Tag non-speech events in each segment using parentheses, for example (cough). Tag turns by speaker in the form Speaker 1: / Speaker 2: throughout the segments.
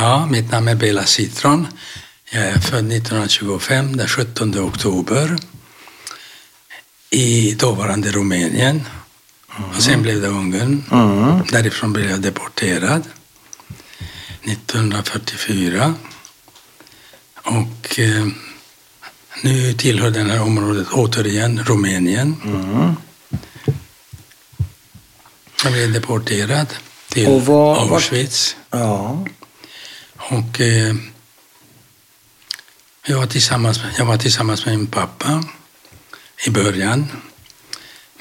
Speaker 1: Ja, mitt namn är Bela Citron. Jag är född 1925, den 17 oktober, i dåvarande Rumänien. Och sen blev det Ungern.
Speaker 2: Mm.
Speaker 1: Därifrån blev jag deporterad 1944. Och eh, nu tillhör det här området återigen Rumänien.
Speaker 2: Mm.
Speaker 1: Jag blev deporterad till
Speaker 2: Och vad- vad-
Speaker 1: Auschwitz.
Speaker 2: Ja.
Speaker 1: Och eh, jag, var tillsammans, jag var tillsammans med min pappa i början.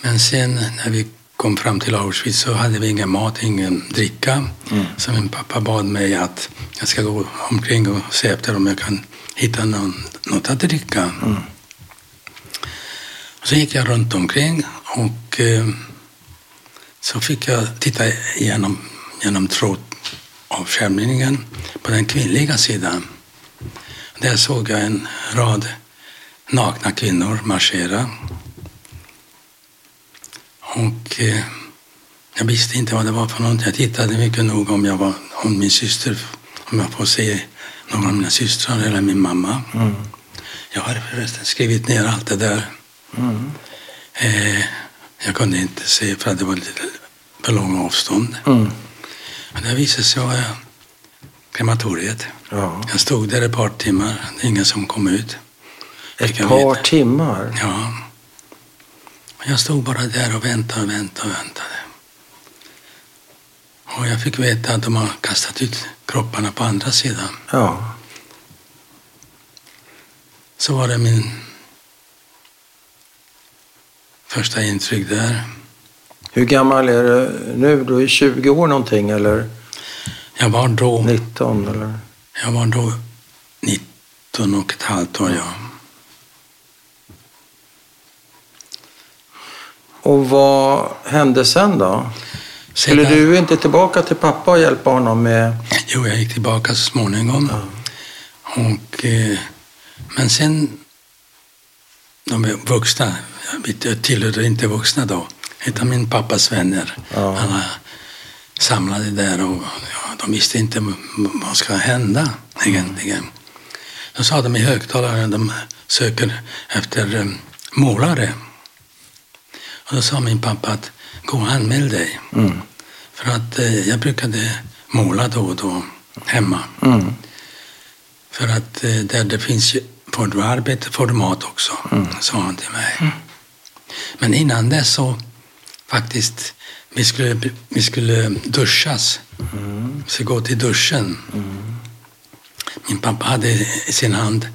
Speaker 1: Men sen när vi kom fram till Auschwitz så hade vi ingen mat, ingen dricka. Så min pappa bad mig att jag ska gå omkring och se efter om jag kan hitta någon, något att dricka. Så gick jag runt omkring och eh, så fick jag titta genom, genom trådavskärmningen på den kvinnliga sidan. Där såg jag en rad nakna kvinnor marschera. Och eh, jag visste inte vad det var för något. Jag tittade mycket noga om, jag var, om min syster, om jag får se någon av mina systrar eller min mamma.
Speaker 2: Mm.
Speaker 1: Jag har förresten skrivit ner allt det där.
Speaker 2: Mm.
Speaker 1: Eh, jag kunde inte se för att det var lite för långa avstånd.
Speaker 2: Mm.
Speaker 1: Men det visade sig vara krematoriet.
Speaker 2: Ja.
Speaker 1: Jag stod där ett par timmar. Det är ingen som kom ut.
Speaker 2: Ett
Speaker 1: Fick jag
Speaker 2: par
Speaker 1: veta.
Speaker 2: timmar.
Speaker 1: Ja. Och Jag stod bara där och väntade och väntade och väntade. Och jag fick veta att de har kastat ut kropparna på andra sidan.
Speaker 2: Ja.
Speaker 1: Så var det min första intryck där.
Speaker 2: Hur gammal är du nu? Du är 20 år någonting eller
Speaker 1: Jag var då...
Speaker 2: 19 eller?
Speaker 1: Jag var då 19 och ett halvt år, ja.
Speaker 2: Och vad hände sen då? Skulle
Speaker 1: Sedan-
Speaker 2: du inte tillbaka till pappa och hjälpa honom med...
Speaker 1: Jo, jag gick tillbaka så småningom.
Speaker 2: Ja.
Speaker 1: Och, eh, men sen, de är vuxna, jag vet- jag tillhörde inte vuxna då, utan min pappas vänner.
Speaker 2: Ja.
Speaker 1: Alla samlade där och ja, de visste inte m- m- vad ska hända egentligen. Då sa de i högtalaren, de söker efter eh, målare. Och då sa min pappa att gå och anmäl dig.
Speaker 2: Mm.
Speaker 1: För att eh, jag brukade måla då och då hemma.
Speaker 2: Mm.
Speaker 1: För att eh, där det finns ju, får du arbete får du mat också,
Speaker 2: Mm.
Speaker 1: sa han till mig. Men innan dess så faktiskt, vi skulle, vi skulle duschas.
Speaker 2: Mm.
Speaker 1: Så gå till duschen. Min pappa hade i sin hand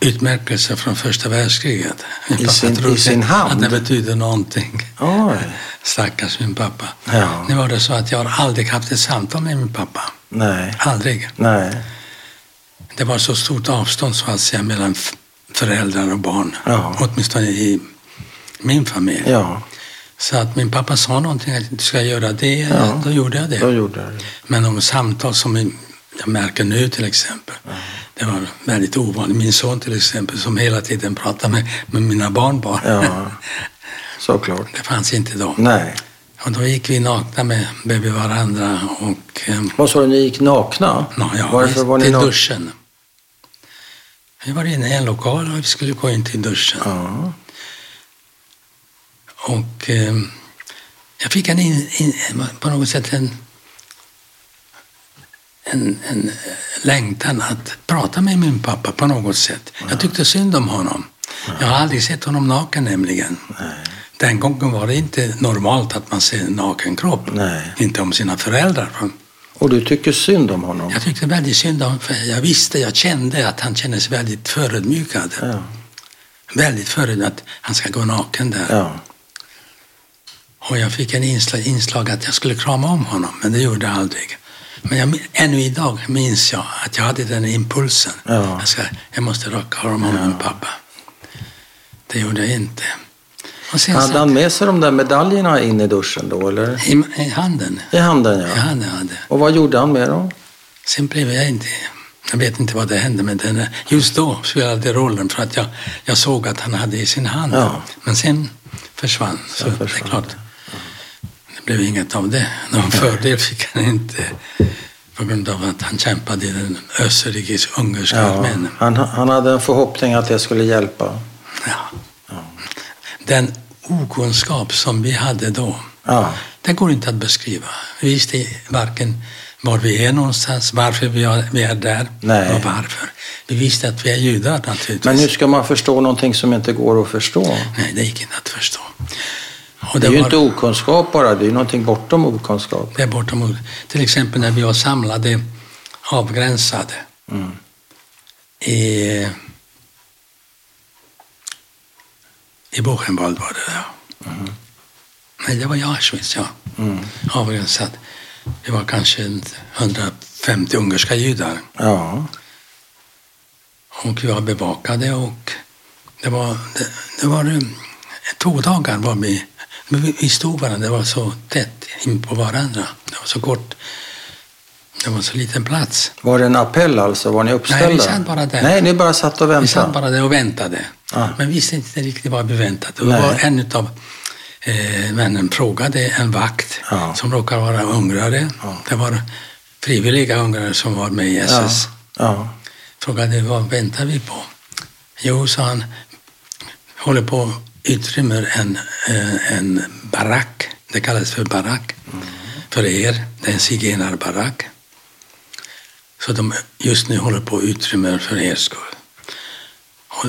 Speaker 1: utmärkelser från första världskriget. Min
Speaker 2: I
Speaker 1: pappa
Speaker 2: sin- i
Speaker 1: trodde
Speaker 2: sin hand?
Speaker 1: Att det betydde någonting.
Speaker 2: Oj.
Speaker 1: Stackars min pappa.
Speaker 2: Ja.
Speaker 1: Nu var det så att jag har aldrig haft ett samtal med min pappa.
Speaker 2: Nej.
Speaker 1: Aldrig.
Speaker 2: Nej.
Speaker 1: Det var så stort avstånd så att säga mellan f- föräldrar och barn.
Speaker 2: Ja.
Speaker 1: Åtminstone i min familj.
Speaker 2: Ja,
Speaker 1: Så att min pappa sa någonting, att du ska göra det,
Speaker 2: Ja.
Speaker 1: då gjorde jag det.
Speaker 2: då gjorde du det.
Speaker 1: Men de samtal som jag märker nu till exempel, det var väldigt ovanligt. Min son till exempel, som hela tiden pratar med, med mina barnbarn.
Speaker 2: Ja. Såklart.
Speaker 1: (laughs) Det fanns inte då.
Speaker 2: Nej.
Speaker 1: Och då gick vi nakna med bredvid varandra och ehm,
Speaker 2: Vad sa du, ni gick nakna?
Speaker 1: Ja, ja,
Speaker 2: Varför var ni
Speaker 1: till
Speaker 2: nakna?
Speaker 1: duschen. Vi var inne i en lokal och vi skulle gå in till duschen.
Speaker 2: Ja.
Speaker 1: Och eh, jag fick en in, in, på något sätt en, en, en eh, längtan att prata med min pappa på något sätt. Jag tyckte synd om honom. Jag har aldrig sett honom naken nämligen.
Speaker 2: Nej.
Speaker 1: Den gången var det inte normalt att man ser en naken kropp.
Speaker 2: Nej.
Speaker 1: Inte om sina föräldrar.
Speaker 2: Och du tycker synd om honom?
Speaker 1: Jag tyckte väldigt synd om honom, för jag visste, jag kände att han kände sig väldigt förödmjukad.
Speaker 2: Ja.
Speaker 1: Väldigt förödmjukad att han ska gå naken där.
Speaker 2: ja.
Speaker 1: Och jag fick en inslag, inslag att jag skulle krama om honom, men det gjorde jag aldrig. Men jag, min- ännu idag minns jag att jag hade den impulsen.
Speaker 2: Ja.
Speaker 1: Jag, ska, jag måste raka om honom, pappa. Det gjorde jag inte. Och sen
Speaker 2: Hade
Speaker 1: satt
Speaker 2: han med sig de där medaljerna in i duschen då, eller?
Speaker 1: i, i handen.
Speaker 2: I handen,
Speaker 1: I
Speaker 2: ja.
Speaker 1: handen hade.
Speaker 2: Och vad gjorde han med dem?
Speaker 1: Sen blev jag inte... Jag vet inte vad det hände med den. Just då spelade det rollen för att jag, jag såg att han hade i sin hand.
Speaker 2: Ja.
Speaker 1: Men sen försvann. Så
Speaker 2: Sen
Speaker 1: det är
Speaker 2: försvann
Speaker 1: klart. Det blev inget av det. Någon fördel fick han inte. För På grund av att han kämpade i den österrikisk-ungerska
Speaker 2: Ja,
Speaker 1: armén.
Speaker 2: han, han hade en förhoppning att det skulle hjälpa.
Speaker 1: Ja. Den okunskap som vi hade då,
Speaker 2: Ja,
Speaker 1: det går inte att beskriva. Vi visste varken var vi är någonstans, varför vi är, vi är där
Speaker 2: Nej.
Speaker 1: och varför. Vi visste att vi är judar naturligtvis.
Speaker 2: men hur ska man förstå någonting som inte går att förstå?
Speaker 1: Nej, det gick inte att förstå. Och
Speaker 2: Det är ju
Speaker 1: var-
Speaker 2: inte okunskap bara, det är ju någonting bortom okunskap.
Speaker 1: där bortom. Till exempel när vi var samlade, avgränsade
Speaker 2: Mm.
Speaker 1: i, i Buchenwald var det. Ja.
Speaker 2: Mm-hmm.
Speaker 1: Nej, det var i Auschwitz, ja.
Speaker 2: Mm.
Speaker 1: Avgränsat. Vi var kanske en 150 ungerska judar.
Speaker 2: Ja,
Speaker 1: Och vi var bevakade och det var, det, det var um, två dagar var vi, men vi, vi stod varandra, det var så tätt in på varandra. Det var så kort, det var så liten plats.
Speaker 2: var det en appell alltså? Var ni uppställda?
Speaker 1: Nej, vi satt bara där.
Speaker 2: Nej, ni bara satt och väntade?
Speaker 1: Vi satt bara där och väntade.
Speaker 2: Ah.
Speaker 1: Men visste inte riktigt vad vi väntade. Och
Speaker 2: Nej.
Speaker 1: var en av eh, männen frågade en vakt
Speaker 2: Ja.
Speaker 1: som råkar vara ungrare.
Speaker 2: Ja.
Speaker 1: Det var frivilliga ungrare som var med i
Speaker 2: ja.
Speaker 1: SS.
Speaker 2: ja.
Speaker 1: frågade vad väntar vi på? Jo, sa han, håller på och utrymmer en, eh, en barack. Det kallas för barack för er. Det är en zigenarbarack. Så de just nu håller på och utrymmer för er skull. Och,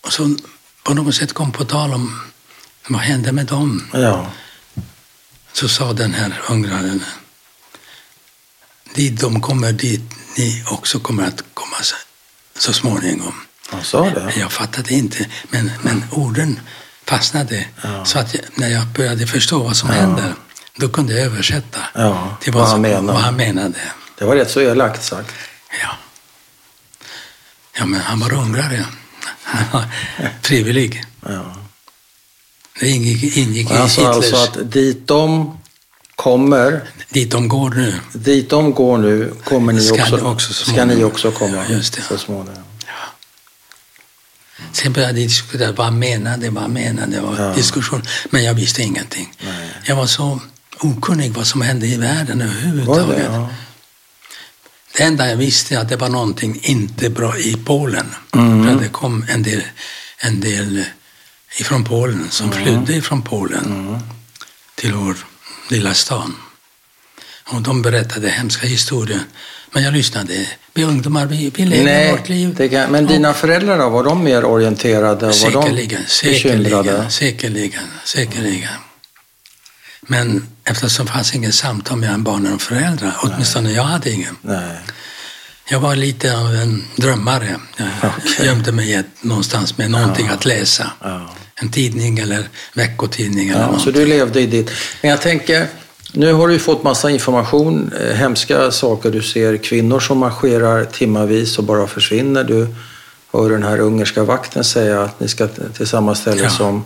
Speaker 1: och så på något sätt kom på tal om vad hände med dem?
Speaker 2: ja.
Speaker 1: Så sa den här ungraren, dit de kommer, dit ni också kommer att komma så, så småningom.
Speaker 2: Han sa det?
Speaker 1: Jag fattade inte, men, men orden fastnade.
Speaker 2: Ja.
Speaker 1: Så att jag, när jag började förstå vad som hände, då kunde jag översätta
Speaker 2: Ja,
Speaker 1: till
Speaker 2: vad
Speaker 1: vad, som,
Speaker 2: han menade.
Speaker 1: vad han menade.
Speaker 2: Det var rätt så elakt sagt.
Speaker 1: Ja. ja, men han var ungrare. (laughs) Han
Speaker 2: (laughs)
Speaker 1: var frivillig.
Speaker 2: Ja.
Speaker 1: Det ingick, ingick
Speaker 2: Och
Speaker 1: i
Speaker 2: han
Speaker 1: Hitlers...
Speaker 2: sa alltså att dit de kommer,
Speaker 1: Dit de går nu.
Speaker 2: dit de går nu, kommer ni
Speaker 1: Ska
Speaker 2: också,
Speaker 1: ni också
Speaker 2: ska
Speaker 1: småningom.
Speaker 2: ni också komma
Speaker 1: Ja, just det.
Speaker 2: så småningom.
Speaker 1: Sen började jag diskutera, vad menade, vad menade, det var
Speaker 2: Ja.
Speaker 1: diskussion. Men jag visste ingenting.
Speaker 2: Nej.
Speaker 1: Jag var så okunnig vad som hände i världen
Speaker 2: Var det
Speaker 1: överhuvudtaget.
Speaker 2: det?
Speaker 1: Det,
Speaker 2: Ja.
Speaker 1: enda jag visste är att det var någonting inte bra i Polen.
Speaker 2: Mm.
Speaker 1: För att det kom en del, en del ifrån Polen, som flydde ifrån Polen
Speaker 2: Mm.
Speaker 1: till vår lilla stan. Och de berättade hemska historier. Men jag lyssnade. Vi ungdomar, vi, vi lever vårt
Speaker 2: Nej,
Speaker 1: liv.
Speaker 2: det kan, men dina föräldrar då, var de mer orienterade? och Var
Speaker 1: Säkerligen,
Speaker 2: de
Speaker 1: säkerligen, säkerligen, säkerligen. Men eftersom det fanns ingen samtal mellan barnen och föräldrar, åtminstone jag hade ingen.
Speaker 2: Nej.
Speaker 1: Jag var lite av en drömmare. Jag
Speaker 2: Okej.
Speaker 1: gömde mig i ett- någonstans med någonting att läsa.
Speaker 2: Ja.
Speaker 1: En tidning eller veckotidning eller
Speaker 2: Ja,
Speaker 1: något.
Speaker 2: så du levde i ditt. Men jag tänker, nu har du ju fått massa information, eh, hemska saker. Du ser kvinnor som marscherar timmavis och bara försvinner. Du hör den här ungerska vakten säga att ni ska t- till samma ställe
Speaker 1: Ja.
Speaker 2: som,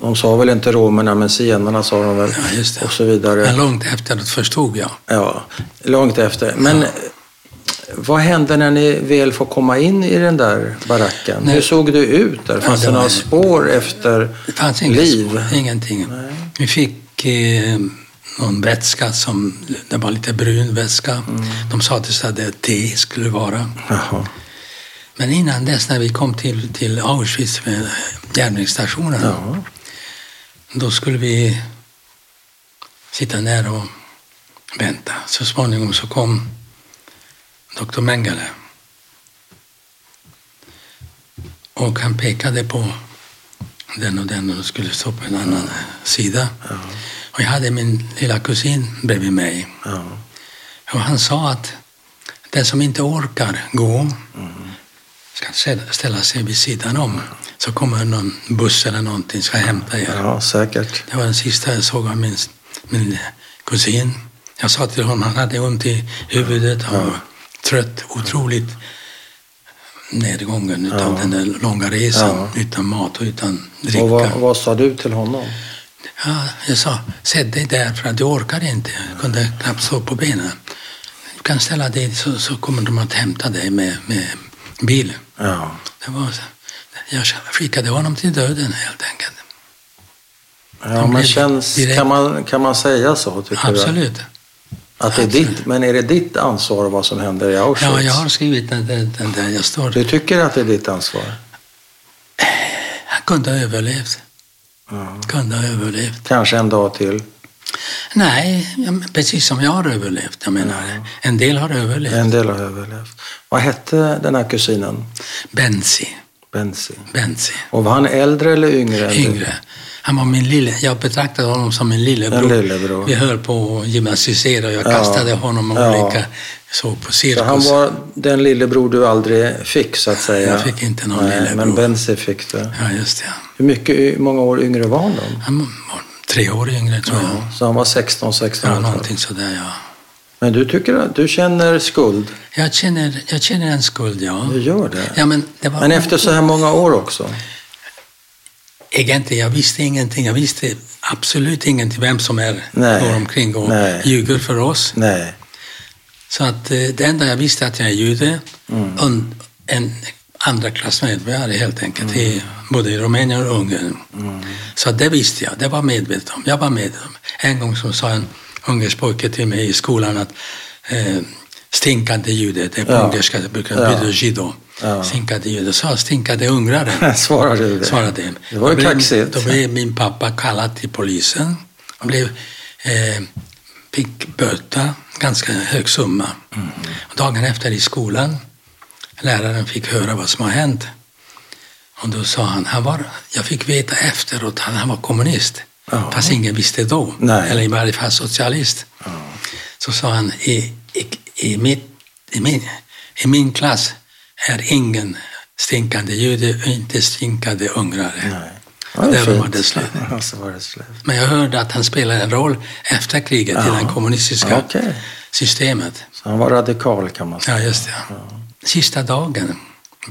Speaker 2: de sa väl inte romerna, men zigenarna sa de väl.
Speaker 1: Ja, just det.
Speaker 2: Och så vidare.
Speaker 1: Men långt efteråt förstod jag.
Speaker 2: Ja, långt efter. Men eh, vad hände när ni väl får komma in i den där baracken?
Speaker 1: Nej.
Speaker 2: Hur såg du ut där? Fanns
Speaker 1: Ja, det
Speaker 2: det
Speaker 1: var-
Speaker 2: några spår efter
Speaker 1: Det fanns inga
Speaker 2: liv?
Speaker 1: spår, ingenting. Vi fick eh, någon vätska som det var lite brun vätska.
Speaker 2: Mm.
Speaker 1: De sa att det hade te skulle vara.
Speaker 2: Jaha.
Speaker 1: Men innan dess, när vi kom till, till Auschwitz, eh, järnvägsstationen,
Speaker 2: Ja.
Speaker 1: då skulle vi sitta ner och vänta. Så småningom så kom doktor Mengele. Och han pekade på den och den och då skulle stå på en annan eh, sida. Och jag hade min lilla kusin bredvid mig.
Speaker 2: Ja.
Speaker 1: Och han sa att den som inte orkar gå ska ställa- ställa sig vid sidan om. Så kommer någon buss eller någonting ska hämta er.
Speaker 2: Ja, säkert.
Speaker 1: Det var den sista jag såg av min, min kusin. Jag sa till honom, han hade ont i huvudet, han var trött, otroligt nedgången utav
Speaker 2: Ja.
Speaker 1: den där långa resan
Speaker 2: Ja.
Speaker 1: utan mat och utan dricka.
Speaker 2: Och vad, vad sa du till honom?
Speaker 1: Ja, jag sa, sätt dig där för att du orkar inte. Jag kunde knappt stå på benen. Du kan ställa dig så, så kommer de att hämta dig med, med bil.
Speaker 2: Ja.
Speaker 1: Det var, så- jag skickade honom till döden helt enkelt.
Speaker 2: Ja,
Speaker 1: De
Speaker 2: men
Speaker 1: blev
Speaker 2: känns,
Speaker 1: direkt-
Speaker 2: kan, man, kan man säga så? Tycker
Speaker 1: Absolut.
Speaker 2: Du? Att det är
Speaker 1: Absolut.
Speaker 2: ditt, men är det ditt ansvar vad som händer i Auschwitz?
Speaker 1: Ja, jag har skrivit den, den, den där jag står.
Speaker 2: Du tycker att det är ditt ansvar?
Speaker 1: Han kunde ha överlevt.
Speaker 2: Ja.
Speaker 1: Kunde ha överlevt.
Speaker 2: Kanske en dag till.
Speaker 1: Nej, ja, men precis som jag har överlevt. Jag menar, en del har överlevt.
Speaker 2: En del har överlevt. Vad hette den här kusinen?
Speaker 1: Bensi.
Speaker 2: Bensi.
Speaker 1: Bensi.
Speaker 2: Och var han äldre eller yngre? än du?
Speaker 1: Yngre. Han var min lille, jag betraktade honom som min
Speaker 2: En
Speaker 1: lillebror.
Speaker 2: lillebror.
Speaker 1: Vi höll på att gymnastisera och jag
Speaker 2: Ja.
Speaker 1: kastade honom och
Speaker 2: Ja.
Speaker 1: olika, så på
Speaker 2: Så han
Speaker 1: cirkus.
Speaker 2: var den lillebror du aldrig fick, så att säga?
Speaker 1: Jag fick inte någon
Speaker 2: Nej,
Speaker 1: lillebror.
Speaker 2: Men Bensi fick det.
Speaker 1: Ja, just det.
Speaker 2: Hur, mycket, hur många år yngre var han då?
Speaker 1: Han var tre år yngre tror jag.
Speaker 2: Så han var 16, 16
Speaker 1: Ja,
Speaker 2: år.
Speaker 1: någonting sådär ja.
Speaker 2: Men du, tycker, att- du känner skuld?
Speaker 1: Jag känner, jag känner en skuld, ja.
Speaker 2: Du gör det?
Speaker 1: ja men det var
Speaker 2: Men efter så här många år också?
Speaker 1: Egentligen, jag visste ingenting. Jag visste absolut ingenting vem som är
Speaker 2: Nej.
Speaker 1: går omkring och
Speaker 2: Nej.
Speaker 1: ljuger för oss.
Speaker 2: Nej.
Speaker 1: Så att eh, det enda jag visste att jag är jude,
Speaker 2: Mm.
Speaker 1: en, en andra klass medborgare helt enkelt,
Speaker 2: Mm.
Speaker 1: i, både i Rumänien och Ungern. Så att det visste jag, det var jag medveten om. Jag var medveten om. En gång så sa en ungersk pojke till mig i skolan att eh, stinkande jude, det är på
Speaker 2: Ja.
Speaker 1: ungerska, det brukar
Speaker 2: Ja.
Speaker 1: betyda jido.
Speaker 2: Ja.
Speaker 1: Stinkande jude, så jag stinkande ungrare
Speaker 2: (laughs) Svarar du det?
Speaker 1: svarade jag.
Speaker 2: Det var ju
Speaker 1: Då blev-
Speaker 2: kaxigt.
Speaker 1: Då blev min pappa kallad till polisen. Han blev, eh, fick böta, ganska hög summa. Och dagen efter i skolan, läraren fick höra vad som har hänt. Och då sa han, han var, jag fick veta efteråt att han var kommunist.
Speaker 2: Ja.
Speaker 1: Fast ingen visste då.
Speaker 2: Nej.
Speaker 1: Eller i varje fall socialist. Så sa han, i, i, i, mitt, i, min, i min klass är ingen stinkande jude och inte stinkande ungrare.
Speaker 2: Nej.
Speaker 1: Och där
Speaker 2: fint.
Speaker 1: var det slut.
Speaker 2: Ja, så var det slut.
Speaker 1: Men jag hörde att han spelade en roll efter kriget i
Speaker 2: Ja.
Speaker 1: det kommunistiska
Speaker 2: Ja, okej.
Speaker 1: systemet.
Speaker 2: Så han var radikal kan man säga.
Speaker 1: Ja, just det. Sista dagen,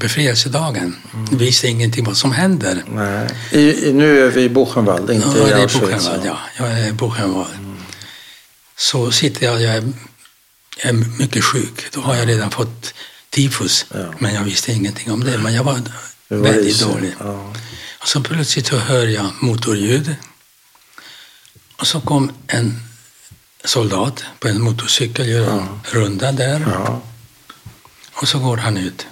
Speaker 1: befrielsedagen,
Speaker 2: Mm.
Speaker 1: visste ingenting vad som händer.
Speaker 2: Nej. I, i, nu är vi i Buchenwald, inte
Speaker 1: Ja,
Speaker 2: i
Speaker 1: det är
Speaker 2: Auschwitz.
Speaker 1: Buchenwald, ja. Jag är i Buchenwald. Så sitter jag, jag är, jag är mycket sjuk. Då har jag redan fått tifus,
Speaker 2: Ja.
Speaker 1: men jag visste ingenting om det. Men jag var
Speaker 2: Det var
Speaker 1: väldigt
Speaker 2: isigt.
Speaker 1: dålig.
Speaker 2: Ja.
Speaker 1: Och så plötsligt så hör jag motorljud. Och så kom en soldat på en motorcykel, gör en runda där.
Speaker 2: Ja.
Speaker 1: Och så går han ut.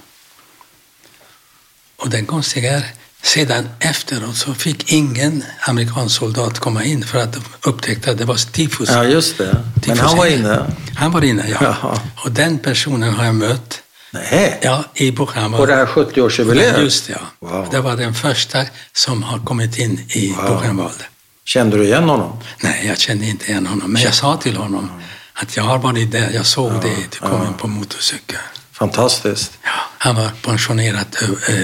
Speaker 1: Och den konstiga är, sedan efteråt så fick ingen amerikansk soldat komma in för att de upptäckte att det var tifus.
Speaker 2: ja, just det. Men han var inne.
Speaker 1: Han var inne, ja.
Speaker 2: Jaha.
Speaker 1: Och den personen har jag mött
Speaker 2: Nej.
Speaker 1: ja, i Buchenwald.
Speaker 2: På det här 70-årsjubileet?
Speaker 1: Just det, ja.
Speaker 2: Wow.
Speaker 1: Det var den första som har kommit in i
Speaker 2: Wow.
Speaker 1: Buchenwald.
Speaker 2: Kände du igen honom?
Speaker 1: Nej, jag kände inte igen honom, men jag sa till honom att jag har varit där, jag såg dig, du kom in på motorcykel.
Speaker 2: Fantastiskt.
Speaker 1: Ja, han var pensionerad eh,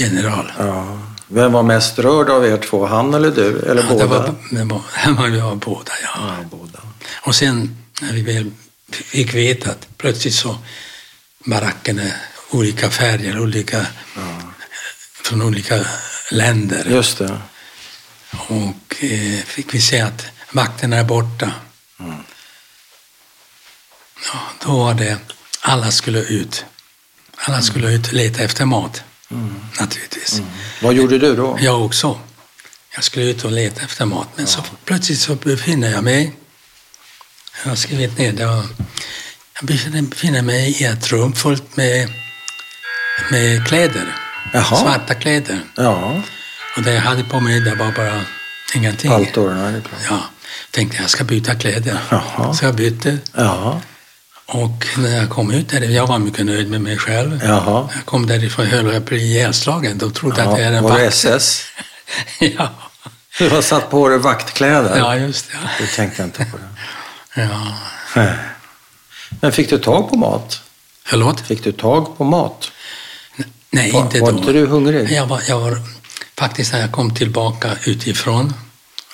Speaker 1: general.
Speaker 2: Ja. Vem var mest rörd av er två? Han eller du? Eller
Speaker 1: Ja,
Speaker 2: båda?
Speaker 1: Det var, det var, (laughs) det var, det var båda, ja.
Speaker 2: Ja, båda.
Speaker 1: Och sen när vi väl fick veta att plötsligt så barackerna, olika färger, olika, från olika länder.
Speaker 2: Just det.
Speaker 1: Och eh, fick vi se att vakterna är borta. Ja, då var det, alla skulle ut. Alla skulle ut och leta efter mat, naturligtvis.
Speaker 2: Vad gjorde du då?
Speaker 1: Jag också. Jag skulle ut och leta efter mat, men så plötsligt så befinner jag mig... Jag har skrivit ner det. och Jag befinner- befinner mig i ett rum fullt med, med kläder.
Speaker 2: Jaha.
Speaker 1: Svarta kläder.
Speaker 2: Ja,
Speaker 1: Och det jag hade på mig, det var bara ingenting.
Speaker 2: paltorna. det är klart.
Speaker 1: Ja, tänkte jag ska byta kläder.
Speaker 2: Jaha.
Speaker 1: Så jag bytte.
Speaker 2: Ja,
Speaker 1: Och när jag kom ut där, jag var mycket nöjd med mig själv.
Speaker 2: jaha.
Speaker 1: Jag kom därifrån höll jag på att bli ihjälslagen. De trodde att jag är
Speaker 2: Ja,
Speaker 1: en
Speaker 2: var det
Speaker 1: vakt.
Speaker 2: SS?
Speaker 1: (laughs) ja.
Speaker 2: Du har satt på dig vaktkläder?
Speaker 1: ja, just det.
Speaker 2: Det tänkte jag inte på. Det.
Speaker 1: Ja.
Speaker 2: Men fick du tag på mat?
Speaker 1: Förlåt?
Speaker 2: Fick du tag på mat?
Speaker 1: Nej,
Speaker 2: Var-
Speaker 1: inte
Speaker 2: var
Speaker 1: då.
Speaker 2: inte du hungrig?
Speaker 1: Jag var, jag var, faktiskt när jag kom tillbaka utifrån,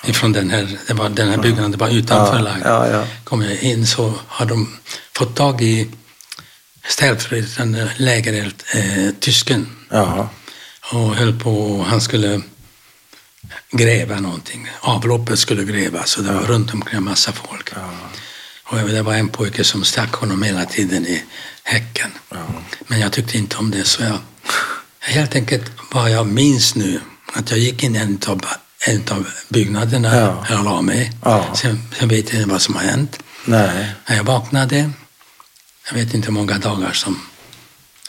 Speaker 1: ifrån den här, det var, den här byggnaden, det var utanför
Speaker 2: Ja,
Speaker 1: laget,
Speaker 2: ja, ja.
Speaker 1: kom jag in så har de fått tag i ställföreträdande lägereld, eh, tysken,
Speaker 2: Ja,
Speaker 1: och höll på, han skulle gräva någonting. Avloppet skulle grävas så det var runt omkring en massa folk. Och det var en pojke som stack honom hela tiden i häcken. Men jag tyckte inte om det så jag, helt enkelt vad jag minns nu, att jag gick in i en av, en av byggnaderna,
Speaker 2: Ja.
Speaker 1: jag la mig.
Speaker 2: Ja.
Speaker 1: Sen, sen vet jag inte vad som har hänt.
Speaker 2: Nej.
Speaker 1: När jag vaknade, jag vet inte hur många dagar som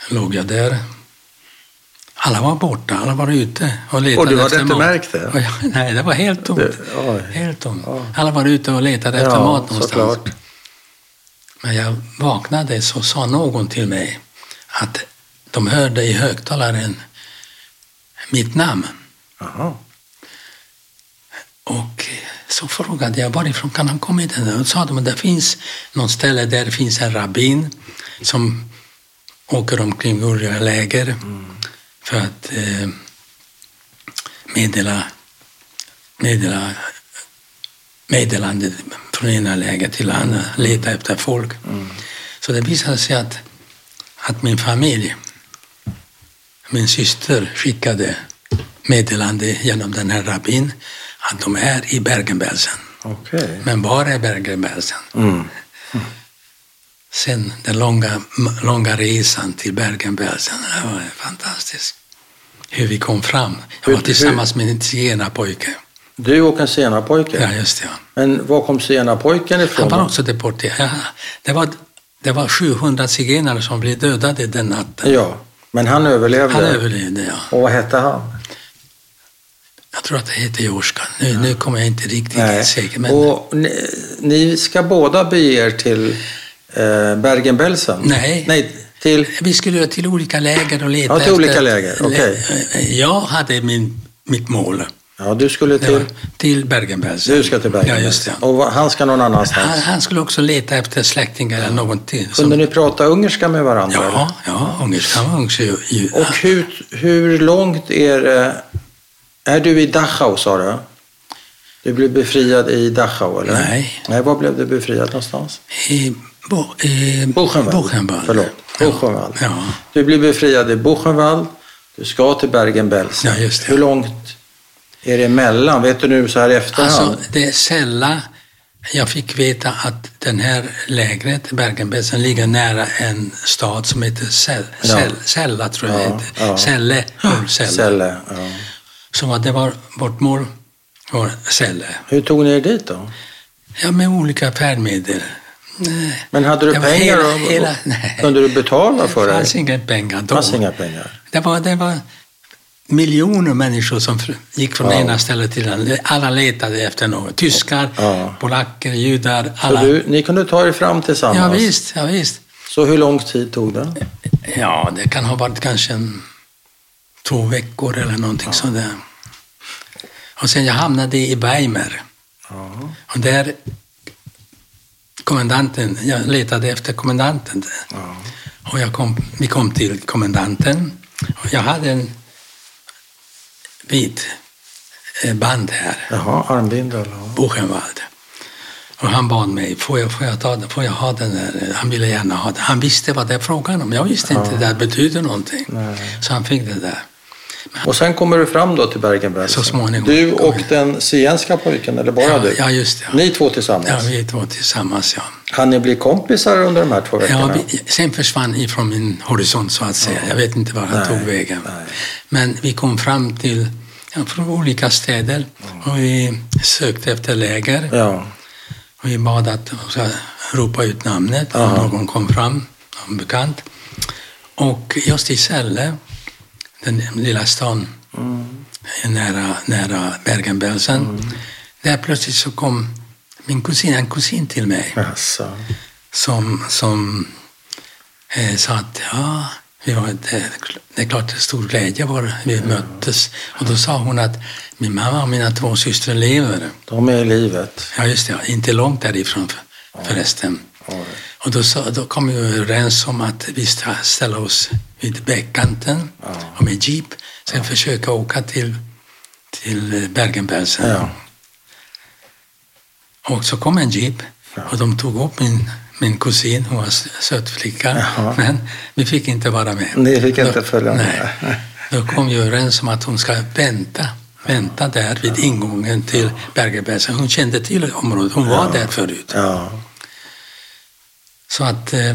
Speaker 1: låg jag där. Alla var borta, alla var ute och letade
Speaker 2: Och du hade
Speaker 1: efter
Speaker 2: inte
Speaker 1: mat.
Speaker 2: märkt det?
Speaker 1: Och jag, nej, det var helt tomt.
Speaker 2: Det- oj.
Speaker 1: helt tomt.
Speaker 2: Ja.
Speaker 1: Alla var ute och letade efter
Speaker 2: ja,
Speaker 1: mat någonstans.
Speaker 2: såklart.
Speaker 1: Men jag vaknade så sa någon till mig att de hörde i högtalaren mitt namn.
Speaker 2: Jaha.
Speaker 1: Och så frågade jag varifrån kan han komma hit? Och sa de att det finns något ställe där det finns en rabbin som åker omkring i olika läger för att eh, meddela, meddela meddelandet från ena läger till andra, leta efter folk. Så det visade sig att, att min familj, min syster skickade meddelande genom den här rabbin att de är i Bergen-Belsen.
Speaker 2: Okej.
Speaker 1: Men var är Bergen-Belsen?
Speaker 2: Mm.
Speaker 1: Sen den långa, m- långa resan till Bergen-Belsen, det var fantastiskt. Hur vi kom fram. Jag
Speaker 2: Hur-
Speaker 1: var tillsammans med en zigenarpojke.
Speaker 2: Du och en zigenarpojke.
Speaker 1: Ja, just det. Ja.
Speaker 2: Men var kom zigenarpojken ifrån?
Speaker 1: Han var också deporterad. Ja, Det var, det var 700 zigenare som blev dödade den natten.
Speaker 2: Ja, men han överlevde.
Speaker 1: Han överlevde, ja.
Speaker 2: Och vad hette han?
Speaker 1: Jag tror att det heter Jorska. Nu, nu kommer jag inte riktigt säker. Men,
Speaker 2: Och ni, ni ska båda bege er till eh, Bergen-Belsen?
Speaker 1: Nej.
Speaker 2: Nej, till...
Speaker 1: Vi skulle till olika läger och leta
Speaker 2: Ja, till
Speaker 1: efter- eh,
Speaker 2: olika läger, okej.
Speaker 1: Jag hade min, mitt mål.
Speaker 2: Ja, du skulle
Speaker 1: Det var
Speaker 2: till...
Speaker 1: till Bergen-Belsen.
Speaker 2: Du ska till Bergen-Belsen.
Speaker 1: Ja, just det.
Speaker 2: Och va- han ska någon annanstans.
Speaker 1: Han, han skulle också leta efter släktingar eller någonting. som-
Speaker 2: Kunde ni prata ungerska med varandra? eller?
Speaker 1: Ja, ja, ungerskan var ungerska. ju- ju-
Speaker 2: Och hur, hur långt är det... Är du i Dachau, sa du? Du blev befriad i Dachau, eller?
Speaker 1: Nej.
Speaker 2: Nej, var blev du befriad någonstans?
Speaker 1: I, bo, i
Speaker 2: Buchenwald.
Speaker 1: Buchenwald.
Speaker 2: Förlåt,
Speaker 1: Ja.
Speaker 2: Buchenwald.
Speaker 1: Ja.
Speaker 2: Du blir befriad i Buchenwald, du ska till Bergen-Belsen.
Speaker 1: Ja, just det.
Speaker 2: Hur långt är det emellan? Vet du nu så här i efterhand?
Speaker 1: Alltså, det är sällan jag fick veta att den här lägret, Bergen-Belsen, ligger nära en stad som heter Säll,
Speaker 2: Ja.
Speaker 1: Säll, Sälla, tror jag
Speaker 2: Ja,
Speaker 1: heter.
Speaker 2: ja.
Speaker 1: Sälle, norr Sälle.
Speaker 2: Celle, ja.
Speaker 1: Så att det var vårt mål var Sälle.
Speaker 2: Hur tog ni er dit då?
Speaker 1: Ja, med olika färdmedel. Nej.
Speaker 2: Men hade du
Speaker 1: Det var
Speaker 2: pengar?
Speaker 1: hela-
Speaker 2: och-
Speaker 1: hela- nej.
Speaker 2: kunde du betala för
Speaker 1: det
Speaker 2: det?
Speaker 1: fanns inga pengar
Speaker 2: Det
Speaker 1: då.
Speaker 2: fanns inga pengar.
Speaker 1: Det var, det var miljoner människor som fr- gick från
Speaker 2: Ja.
Speaker 1: ena stället till andra. Alla letade efter något. Tyskar,
Speaker 2: Ja.
Speaker 1: polacker, judar.
Speaker 2: Så
Speaker 1: Alla.
Speaker 2: du, ni kunde ta er fram
Speaker 1: ja,
Speaker 2: tillsammans?
Speaker 1: visst, ja, visst.
Speaker 2: Så hur lång tid tog det?
Speaker 1: Ja, det kan ha varit kanske en, två veckor eller någonting sådär. Och sen jag hamnade i Weimar.
Speaker 2: Ja.
Speaker 1: Och där, kommendanten, jag letade efter kommendanten. Där.
Speaker 2: Ja.
Speaker 1: Och jag kom, vi kom till kommendanten. Och jag hade en vit eh, band här,
Speaker 2: Jaha, armbindel. ja.
Speaker 1: Buchenwald. Och han bad mig, får jag, får jag, ta, den? får jag ha den där? Han ville gärna ha den. Han visste vad det är frågan om. Jag visste inte det där betydde någonting.
Speaker 2: Nej.
Speaker 1: Så han fick det där.
Speaker 2: Och sen kommer du fram då till Bergen-Belsen?
Speaker 1: Så småningom.
Speaker 2: Du
Speaker 1: Kom
Speaker 2: och den zigenska pojken, eller bara
Speaker 1: Ja,
Speaker 2: du?
Speaker 1: ja, just det. Ja.
Speaker 2: Ni två tillsammans?
Speaker 1: Ja, vi två tillsammans, ja.
Speaker 2: Hann ni bli kompisar under de här två
Speaker 1: ja
Speaker 2: veckorna?
Speaker 1: vi, sen försvann ifrån min horisont, så att säga. Jag vet inte var han
Speaker 2: Nej,
Speaker 1: tog vägen.
Speaker 2: nej.
Speaker 1: Men vi kom fram till ja, från olika städer och vi sökte efter läger.
Speaker 2: Ja.
Speaker 1: Och vi bad att de ska ropa ut namnet,
Speaker 2: Ja.
Speaker 1: om någon kom fram, någon bekant. Och just i Sälle, den lilla stan
Speaker 2: Mm.
Speaker 1: nära, nära Bergen-Belsen, där plötsligt så kom min kusin, en kusin till mig
Speaker 2: Jaså.
Speaker 1: som, som eh, sa att ja, vi var, det, det är klart det är stor glädje var vi möttes. Och då sa hon att min mamma och mina två systrar lever.
Speaker 2: De är i livet.
Speaker 1: Ja, just det. ja. Inte långt därifrån för, förresten.
Speaker 2: Ja.
Speaker 1: Och då, sa, då kom vi överens om att vi ska ställa oss vid bäckkanten
Speaker 2: Ja.
Speaker 1: och med jeep sen försöka åka till, till Bergen-Belsen.
Speaker 2: Ja.
Speaker 1: Och så kom en jeep och de tog upp min, min kusin, hon var s- söt flicka,
Speaker 2: Jaha.
Speaker 1: men vi fick inte vara med.
Speaker 2: Ni fick inte
Speaker 1: Då-
Speaker 2: följa med.
Speaker 1: Nej. Då kom vi överens om att hon ska vänta, vänta där vid ingången till Bergen-Belsen. Hon kände till området, hon var där förut.
Speaker 2: Ja.
Speaker 1: Så att eh,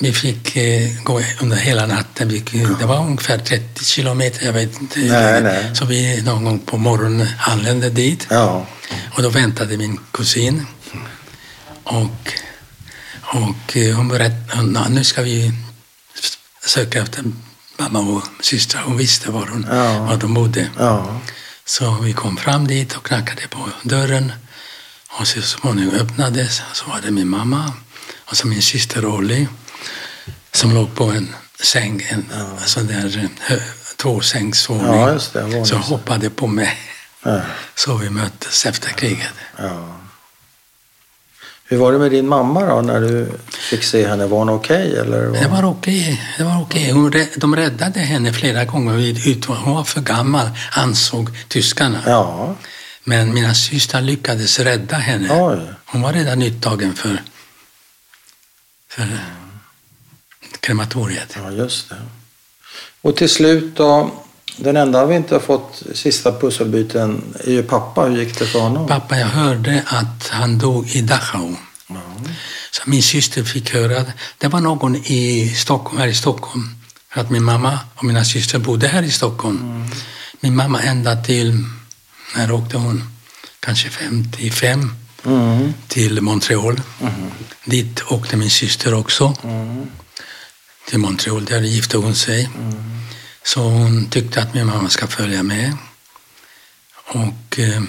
Speaker 1: vi fick eh, gå under hela natten. Vi, Det var ungefär 30 kilometer, jag vet inte.
Speaker 2: Nej, nej.
Speaker 1: Så vi någon gång på morgonen anlände dit.
Speaker 2: Ja.
Speaker 1: Och då väntade min kusin. Och, och eh, hon berättade, nu ska vi söka efter mamma och systrar. Hon visste var, hon,
Speaker 2: Ja.
Speaker 1: var de bodde.
Speaker 2: Ja.
Speaker 1: Så vi kom fram dit och knackade på dörren. Och så småningom öppnades. Så var det min mamma och så min syster Olli som låg på en säng, en
Speaker 2: Ja.
Speaker 1: sån där eh, hö- tvåsängsvåning.
Speaker 2: Ja, just det, våning.
Speaker 1: så hoppade på mig.
Speaker 2: Ja.
Speaker 1: Så vi möttes efter kriget.
Speaker 2: ja. Hur var det med din mamma då när du fick se henne? Var hon okej? eller
Speaker 1: Det var okej. Det var okej. Hon rä- De räddade henne flera gånger. vid ut- Hon var för gammal, ansåg tyskarna.
Speaker 2: Ja.
Speaker 1: Men mina systrar lyckades rädda henne.
Speaker 2: Oj.
Speaker 1: Hon var redan uttagen för, för krematoriet.
Speaker 2: ja, just det. Och till slut då, den enda vi inte har fått sista pusselbiten är ju pappa. Hur gick det för honom?
Speaker 1: Pappa, jag hörde att han dog i Dachau.
Speaker 2: Ja.
Speaker 1: Så min syster fick höra att det var någon i Stockholm, här i Stockholm. För att min mamma och mina systrar bodde här i Stockholm. Min mamma ända till, när åkte hon? Kanske 55
Speaker 2: Mm.
Speaker 1: till Montreal. Dit åkte min syster också.
Speaker 2: Mm.
Speaker 1: till Montreal. Där gifte hon sig. Så hon tyckte att min mamma ska följa med. Och eh,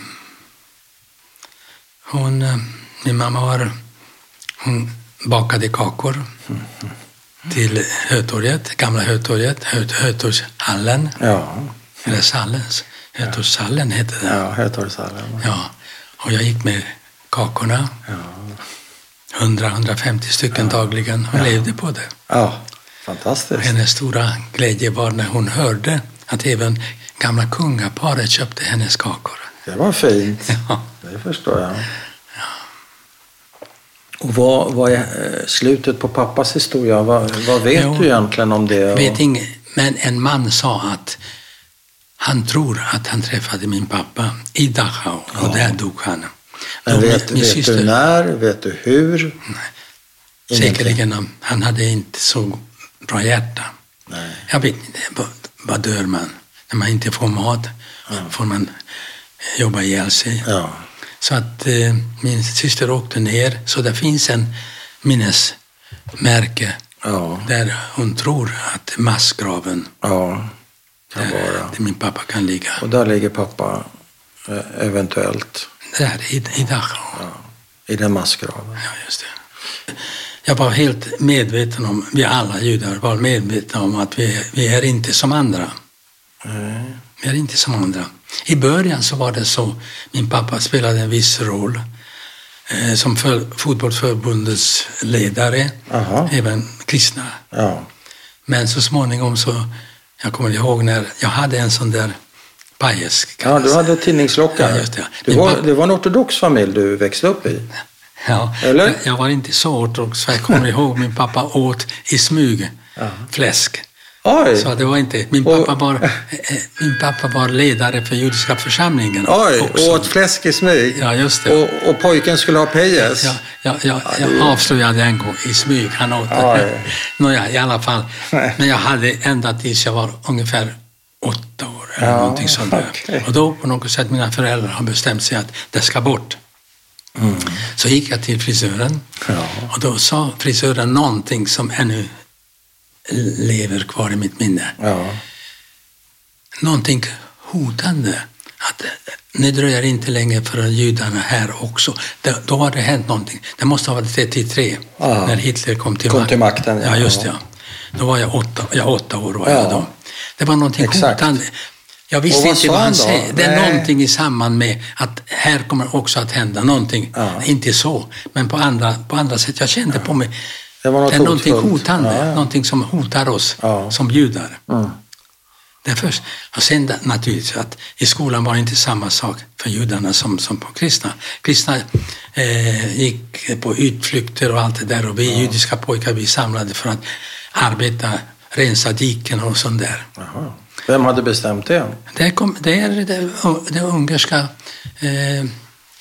Speaker 1: hon, eh, min mamma var, hon bakade kakor till Hötorget, gamla Hötorget, Hö- Hötorgshallen,
Speaker 2: Ja.
Speaker 1: eller Sallens, Hötorgshallen hette det.
Speaker 2: Ja, Hötorgshallen.
Speaker 1: Ja. Och jag gick med kakorna,
Speaker 2: Ja.
Speaker 1: 100-150 stycken dagligen, och levde på det.
Speaker 2: ja,
Speaker 1: Och
Speaker 2: fantastiskt.
Speaker 1: Hennes stora glädje var när hon hörde att även gamla kungaparet köpte hennes kakor.
Speaker 2: Det var fint.
Speaker 1: Ja.
Speaker 2: Det förstår jag. Och vad, vad är eh, slutet på pappas historia? Vad, vad vet
Speaker 1: Jo.
Speaker 2: du egentligen om det?
Speaker 1: Jag
Speaker 2: Och-
Speaker 1: Vet inget, men en man sa att han tror att han träffade min pappa i Dachau och där dog han.
Speaker 2: Men
Speaker 1: Och
Speaker 2: vet, vet du när? Vet du hur? Ingenting.
Speaker 1: säkerligen, han hade inte så bra hjärta.
Speaker 2: Nej.
Speaker 1: Jag vet inte, vad- vad dör man? När man inte får mat får man jobba ihjäl sig.
Speaker 2: Ja.
Speaker 1: Så att eh, min syster åkte ner, så det finns en minnesmärke
Speaker 2: Ja.
Speaker 1: där hon tror att massgraven,
Speaker 2: Ja. Kan
Speaker 1: där,
Speaker 2: vara.
Speaker 1: där min pappa kan ligga,
Speaker 2: Och där ligger pappa eh, eventuellt
Speaker 1: där i, i Dachau.
Speaker 2: ja, i den massgraven.
Speaker 1: Ja, just det. Jag var helt medveten om, vi alla judar var medvetna om att vi, vi är inte som andra.
Speaker 2: Nej.
Speaker 1: Vi är inte som andra. I början så var det så, min pappa spelade en viss roll eh, som för, fotbollsförbundets ledare,
Speaker 2: Aha.
Speaker 1: även kristna.
Speaker 2: Ja.
Speaker 1: Men så småningom så, jag kommer ihåg när jag hade en sån där pajes. kan
Speaker 2: ja,
Speaker 1: jag
Speaker 2: du
Speaker 1: säga.
Speaker 2: hade tidningslocka.
Speaker 1: Ja, just det.
Speaker 2: Du
Speaker 1: Min
Speaker 2: var,
Speaker 1: pappa-
Speaker 2: det var en ortodox familj du växte upp i.
Speaker 1: Ja,
Speaker 2: Eller?
Speaker 1: Jag- Jag var inte så ortodox, för jag kommer ihåg min pappa åt i smyg fläsk.
Speaker 2: Oj!
Speaker 1: Så det var inte, min
Speaker 2: Och-
Speaker 1: pappa var, eh, min pappa var ledare för judiska församlingen
Speaker 2: Oj,
Speaker 1: också.
Speaker 2: och åt fläsk i smyg.
Speaker 1: Ja, just det.
Speaker 2: Och, och pojken skulle ha pejes.
Speaker 1: Ja, ja, ja, jag avslöjade en gång i smyg. Han åt (laughs)
Speaker 2: Oj.
Speaker 1: det. Nåja, i alla fall.
Speaker 2: Nej.
Speaker 1: Men jag hade ända tills jag var ungefär åtta år eller
Speaker 2: Ja,
Speaker 1: någonting sånt där.
Speaker 2: okej.
Speaker 1: Och då på något sätt mina föräldrar har bestämt sig att det ska bort. Så gick jag till frisören
Speaker 2: Mm. Ja.
Speaker 1: och då sa frisören någonting som ännu lever kvar i mitt minne.
Speaker 2: Ja.
Speaker 1: Någonting hotande. Att eh, nu dröjer det inte länge förrän judarna här också. Det, då har det hänt någonting. Det måste ha varit 33,
Speaker 2: Ja.
Speaker 1: när Hitler kom till,
Speaker 2: Ah. Kom
Speaker 1: mak-
Speaker 2: till makten, ja.
Speaker 1: Ja, just det. Ja. Då var jag åtta, ja, åtta år. Var
Speaker 2: Ja.
Speaker 1: jag då. Det var någonting
Speaker 2: Exakt.
Speaker 1: hotande. Jag visste
Speaker 2: Och vad
Speaker 1: inte
Speaker 2: sa
Speaker 1: vad
Speaker 2: han
Speaker 1: han
Speaker 2: då?
Speaker 1: säger. Det är
Speaker 2: Nej.
Speaker 1: någonting i samband med att här kommer också att hända någonting.
Speaker 2: Ja.
Speaker 1: Inte så, men på andra, på andra sätt. Jag kände på mig.
Speaker 2: Det var något
Speaker 1: är någonting
Speaker 2: hotfullt.
Speaker 1: hotande,
Speaker 2: Ja, ja.
Speaker 1: någonting som hotar oss
Speaker 2: Ja.
Speaker 1: som judar.
Speaker 2: Mm.
Speaker 1: Det är först. Och sen där- naturligtvis att i skolan var det inte samma sak för judarna som, som på kristna. Kristna eh, gick på utflykter och allt det där och vi judiska pojkar vi samlade för att arbeta, rensa diken och sånt där.
Speaker 2: Jaha. Vem hade bestämt det?
Speaker 1: Det, kom, det är det, det ungerska eh,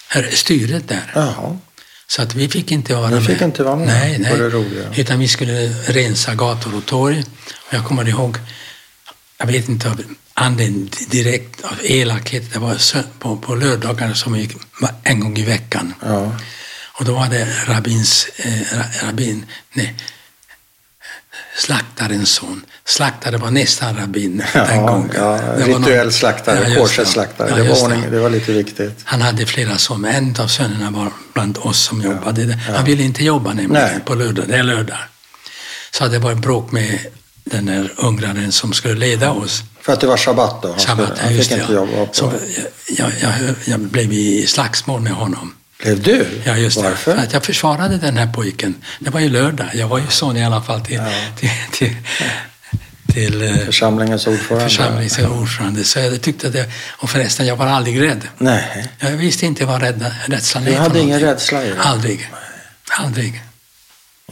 Speaker 1: här, styret där.
Speaker 2: Jaha.
Speaker 1: Så att vi fick inte vara
Speaker 2: Ni
Speaker 1: med.
Speaker 2: fick inte vara med
Speaker 1: Nej,
Speaker 2: på
Speaker 1: nej.
Speaker 2: det roliga.
Speaker 1: Utan vi skulle rensa gator och torg. Och jag kommer ihåg, jag vet inte av anledningen direkt av elakhet, det var sö- på, på lördagar som vi gick va- en gång i veckan.
Speaker 2: Ja.
Speaker 1: Och då var det rabbins, eh, ra- rabbin, nej, slaktarens son. Slaktare var nästan rabbin den
Speaker 2: Ja,
Speaker 1: gången.
Speaker 2: ja,
Speaker 1: Det var någon-
Speaker 2: rituell slaktare,
Speaker 1: just
Speaker 2: korsets
Speaker 1: det.
Speaker 2: slaktare.
Speaker 1: Ja,
Speaker 2: det,
Speaker 1: just
Speaker 2: var ordning, det var lite viktigt.
Speaker 1: Han hade flera som En av sönerna var bland oss som jobbade. Han ville inte jobba nämligen
Speaker 2: Nej.
Speaker 1: på lördag, det är lördag. Så det var ett bråk med den där ungraren som skulle leda oss.
Speaker 2: För att det var sabbat då. Han, skulle-
Speaker 1: Shabbat, ja,
Speaker 2: han
Speaker 1: just
Speaker 2: fick
Speaker 1: det.
Speaker 2: inte
Speaker 1: ja.
Speaker 2: jobba på.
Speaker 1: Så jag, jag, jag, jag blev i slagsmål med honom.
Speaker 2: Blev du?
Speaker 1: Ja, just det.
Speaker 2: Varför?
Speaker 1: För att jag försvarade den här pojken. Det var ju lördag. Jag var ju son i alla fall till, till, till, till eh,
Speaker 2: Församlingens ordförande?
Speaker 1: församlingens ordförande. Så jag tyckte att jag, och förresten, jag var aldrig rädd.
Speaker 2: Nej.
Speaker 1: Jag visste inte vad rädda, rädslan
Speaker 2: Du
Speaker 1: är för
Speaker 2: hade ingen
Speaker 1: någonting.
Speaker 2: rädsla i det?
Speaker 1: Aldrig. Aldrig.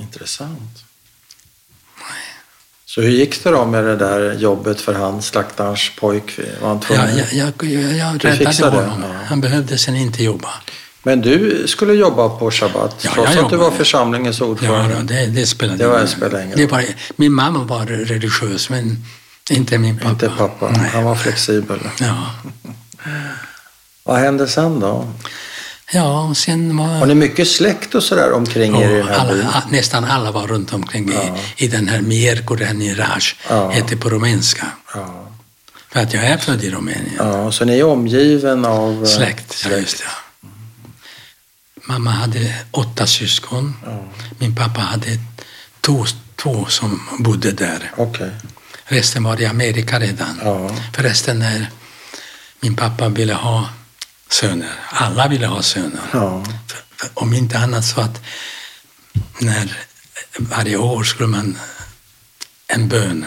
Speaker 2: Intressant. Så hur gick det då med det där jobbet för han, slaktarens pojk? Var han tvungen?
Speaker 1: Jag, jag, jag, jag, jag
Speaker 2: Du
Speaker 1: räddade
Speaker 2: fixade det,
Speaker 1: honom.
Speaker 2: ja.
Speaker 1: Han behövde sen inte jobba.
Speaker 2: Men du skulle jobba på sabbat,
Speaker 1: Ja,
Speaker 2: trots
Speaker 1: jag
Speaker 2: att du var
Speaker 1: jobbade.
Speaker 2: församlingens
Speaker 1: Ja,
Speaker 2: ordförande?
Speaker 1: då, det, det spelade
Speaker 2: Det var- spelade ingen
Speaker 1: det var, Min mamma var religiös, men inte min pappa.
Speaker 2: Inte pappa,
Speaker 1: Nej.
Speaker 2: han var flexibel.
Speaker 1: Ja.
Speaker 2: Vad hände sen då?
Speaker 1: ja, och sen var...
Speaker 2: Har ni mycket släkt och sådär omkring er i den
Speaker 1: Och
Speaker 2: här byn?
Speaker 1: alla, a- nästan alla var runt omkring
Speaker 2: Ja.
Speaker 1: i, i den här Mierko Reniraj,
Speaker 2: Ja.
Speaker 1: heter på rumänska.
Speaker 2: Ja.
Speaker 1: För att jag är född i Rumänien.
Speaker 2: ja, så ni är omgiven av... eh,
Speaker 1: Släkt, ja just det. Mamma hade åtta syskon. Min pappa hade två, två som bodde där.
Speaker 2: Okej.
Speaker 1: Resten var i Amerika redan.
Speaker 2: Ja.
Speaker 1: Förresten, när min pappa ville ha söner, alla ville ha söner.
Speaker 2: Ja.
Speaker 1: För- för- Om inte annat så att när varje år skulle man en bön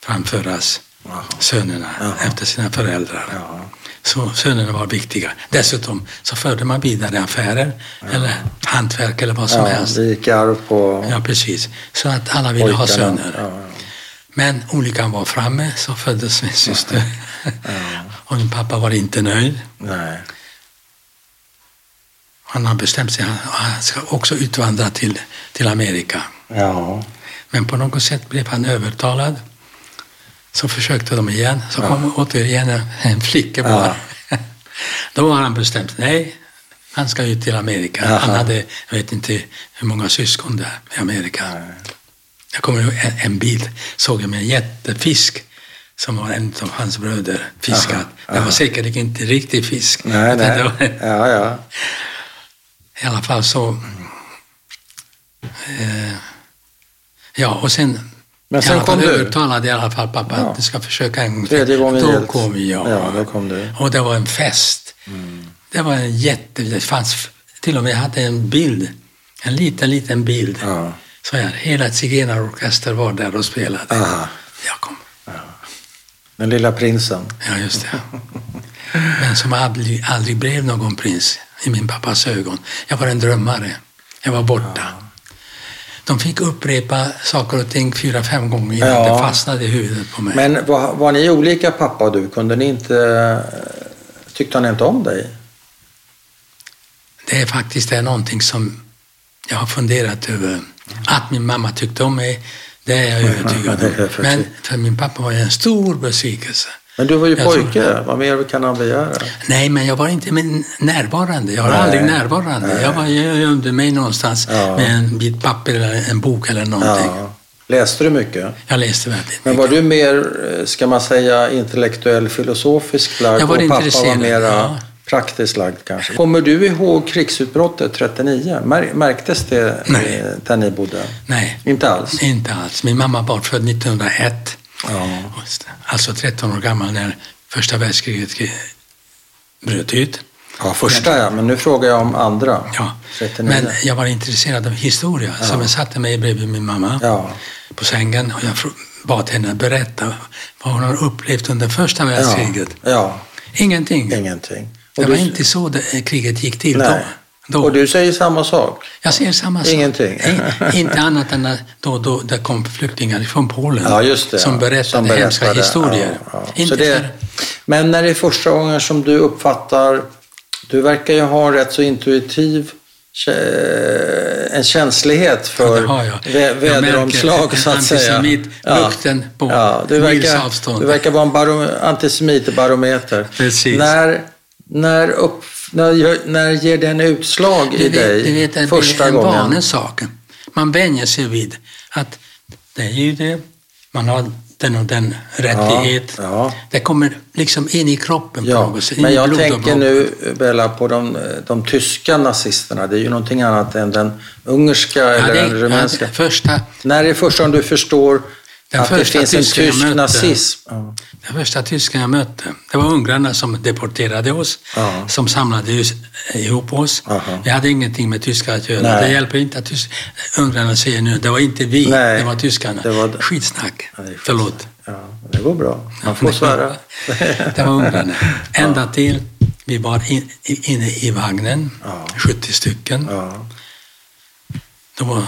Speaker 1: framföras
Speaker 2: Jaha.
Speaker 1: sönerna
Speaker 2: Jaha.
Speaker 1: efter sina föräldrar.
Speaker 2: Ja.
Speaker 1: Så sönerna var viktiga. Dessutom så förde man vidare affärer eller hantverk eller vad som
Speaker 2: ja,
Speaker 1: helst.
Speaker 2: det gick i arv på
Speaker 1: Ja, precis. Så att alla ville
Speaker 2: pojkarna.
Speaker 1: ha söner.
Speaker 2: Ja, ja.
Speaker 1: Men olyckan var framme, så föddes min syster. (laughs) Och min pappa var inte nöjd.
Speaker 2: Nej.
Speaker 1: Han har bestämt sig, han- han ska också utvandra till, till Amerika.
Speaker 2: Ja.
Speaker 1: Men på något sätt blev han övertalad. Så försökte de igen, så kom återigen en- en flicka bara. (laughs) Då har han bestämt, nej, han ska ut till Amerika.
Speaker 2: Jaha.
Speaker 1: Han hade, jag vet inte hur många syskon där i Amerika. Jag kommer ihåg en, en bild, såg jag med en jättefisk som var en av hans bröder fiskat. Det var säkert inte riktig fisk.
Speaker 2: Nej,
Speaker 1: utan
Speaker 2: nej.
Speaker 1: (laughs) det var-
Speaker 2: Ja, ja.
Speaker 1: I alla fall så... Eh, ja, och sen...
Speaker 2: Men
Speaker 1: i
Speaker 2: sen
Speaker 1: alla
Speaker 2: kom
Speaker 1: fall
Speaker 2: du.
Speaker 1: övertalade i alla fall pappa
Speaker 2: Ja.
Speaker 1: att du ska försöka en gång till.
Speaker 2: Tredje gången
Speaker 1: Då
Speaker 2: gillt.
Speaker 1: kom jag.
Speaker 2: Ja, då kom du. Mm.
Speaker 1: Och det var en fest. Det var en jätte... Det fanns... Till och med jag hade en bild. En liten, liten bild.
Speaker 2: Ja.
Speaker 1: Så här, hela zigenarorkester var där och spelade.
Speaker 2: Aha.
Speaker 1: Jag kom.
Speaker 2: Den lilla prinsen.
Speaker 1: Ja, just det. Men som aldrig, aldrig blev någon prins i min pappas ögon. Jag var en drömmare. Jag var borta. De fick upprepa saker och ting fyra, fem gånger innan
Speaker 2: Ja.
Speaker 1: det fastnade i huvudet på mig.
Speaker 2: Men var, var ni olika pappa och du? Kunde ni inte... eh, Tyckte han inte om dig?
Speaker 1: Det är faktiskt det är någonting som jag har funderat över. Att min mamma tyckte om mig, det är jag övertygad
Speaker 2: Det är
Speaker 1: om.
Speaker 2: för
Speaker 1: Men
Speaker 2: tidigt.
Speaker 1: för min pappa var det en stor besvikelse.
Speaker 2: Men du var ju
Speaker 1: Jag tror
Speaker 2: pojke. Vad mer kan han begära?
Speaker 1: Nej, men jag var inte min- närvarande. Jag var
Speaker 2: Nej.
Speaker 1: aldrig närvarande.
Speaker 2: Nej.
Speaker 1: Jag var jag gömde mig någonstans
Speaker 2: Ja.
Speaker 1: med en bit papper eller en bok eller någonting.
Speaker 2: Ja. Läste du mycket?
Speaker 1: Jag läste väldigt
Speaker 2: Men
Speaker 1: mycket.
Speaker 2: var du mer, eh, ska man säga, intellektuell, filosofisk lagd
Speaker 1: Jag var
Speaker 2: och pappa var
Speaker 1: intresserad,
Speaker 2: mera
Speaker 1: ja.
Speaker 2: praktiskt lagd kanske? Kommer du ihåg krigsutbrottet 39? Mär, märktes det
Speaker 1: Nej.
Speaker 2: eh, där ni bodde?
Speaker 1: Nej,
Speaker 2: Inte alls?
Speaker 1: inte alls. Min mamma var född 1901,
Speaker 2: Ja.
Speaker 1: alltså 13 år gammal när första världskriget kri- bröt ut.
Speaker 2: ja, första ja, men nu frågar jag om andra.
Speaker 1: Ja.
Speaker 2: 39.
Speaker 1: Men jag var intresserad av historia, så jag satte mig bredvid min mamma
Speaker 2: Ja.
Speaker 1: på sängen och jag fr- bad henne berätta vad hon har upplevt under första världskriget.
Speaker 2: Ja,
Speaker 1: Ingenting.
Speaker 2: ja, ingenting.
Speaker 1: Det var inte så det, eh, kriget gick till
Speaker 2: Nej.
Speaker 1: då. då.
Speaker 2: Och du säger samma sak?
Speaker 1: Jag ser samma sak.
Speaker 2: Ingenting.
Speaker 1: Nej, inte annat än att då, då det kom flyktingar från Polen
Speaker 2: Ja, just det.
Speaker 1: som
Speaker 2: ja.
Speaker 1: berättade hemska
Speaker 2: berättade,
Speaker 1: historier.
Speaker 2: ja, ja.
Speaker 1: Inte
Speaker 2: Så det,
Speaker 1: för,
Speaker 2: men när det är första gången som du uppfattar, du verkar ju ha en rätt så intuitiv kä- eh, en känslighet för
Speaker 1: det har jag.
Speaker 2: vä-
Speaker 1: Jag
Speaker 2: väderomslag
Speaker 1: märker
Speaker 2: så att säga.
Speaker 1: antisemitlukten på
Speaker 2: du,
Speaker 1: mils
Speaker 2: verkar,
Speaker 1: avstånd.
Speaker 2: du verkar vara en baro- antisemitbarometer.
Speaker 1: Precis.
Speaker 2: När, när upp, När, gör- när ger den utslag i
Speaker 1: Du
Speaker 2: dig
Speaker 1: vet, du vet att det
Speaker 2: första
Speaker 1: är en
Speaker 2: gången?
Speaker 1: vanlig sak. Man vänjer sig vid att det är ju det, man har den och den rättighet.
Speaker 2: ja.
Speaker 1: Det kommer liksom in i kroppen på
Speaker 2: Ja,
Speaker 1: något sätt. in
Speaker 2: men
Speaker 1: i
Speaker 2: jag
Speaker 1: blod och
Speaker 2: tänker
Speaker 1: blod.
Speaker 2: nu, eh, Bella, på de, de tyska nazisterna. Det är ju någonting annat än den ungerska
Speaker 1: Ja,
Speaker 2: eller
Speaker 1: det-
Speaker 2: den rumänska.
Speaker 1: ja, det första,
Speaker 2: När är det första gången du förstår
Speaker 1: Den
Speaker 2: att det
Speaker 1: första
Speaker 2: finns en
Speaker 1: tysken jag
Speaker 2: tysk
Speaker 1: mötte.
Speaker 2: nazism? Ja.
Speaker 1: Den första tysken jag mötte, det var ungrarna som deporterade oss,
Speaker 2: Ja.
Speaker 1: som samlade just, ihop oss.
Speaker 2: Aha.
Speaker 1: Vi hade ingenting med tyskar att göra.
Speaker 2: Nej.
Speaker 1: Det hjälper inte att tysk, ungrarna säger nu, det var inte vi,
Speaker 2: Nej.
Speaker 1: det var tyskarna.
Speaker 2: Det var-
Speaker 1: Skitsnack.
Speaker 2: Ja, det är skitsnack.
Speaker 1: Förlåt.
Speaker 2: Ja, det går bra. Man får svära.
Speaker 1: (laughs) Det var ungrarna. Ända till vi var in, i- inne i vagnen,
Speaker 2: Ja.
Speaker 1: 70 stycken.
Speaker 2: Ja.
Speaker 1: De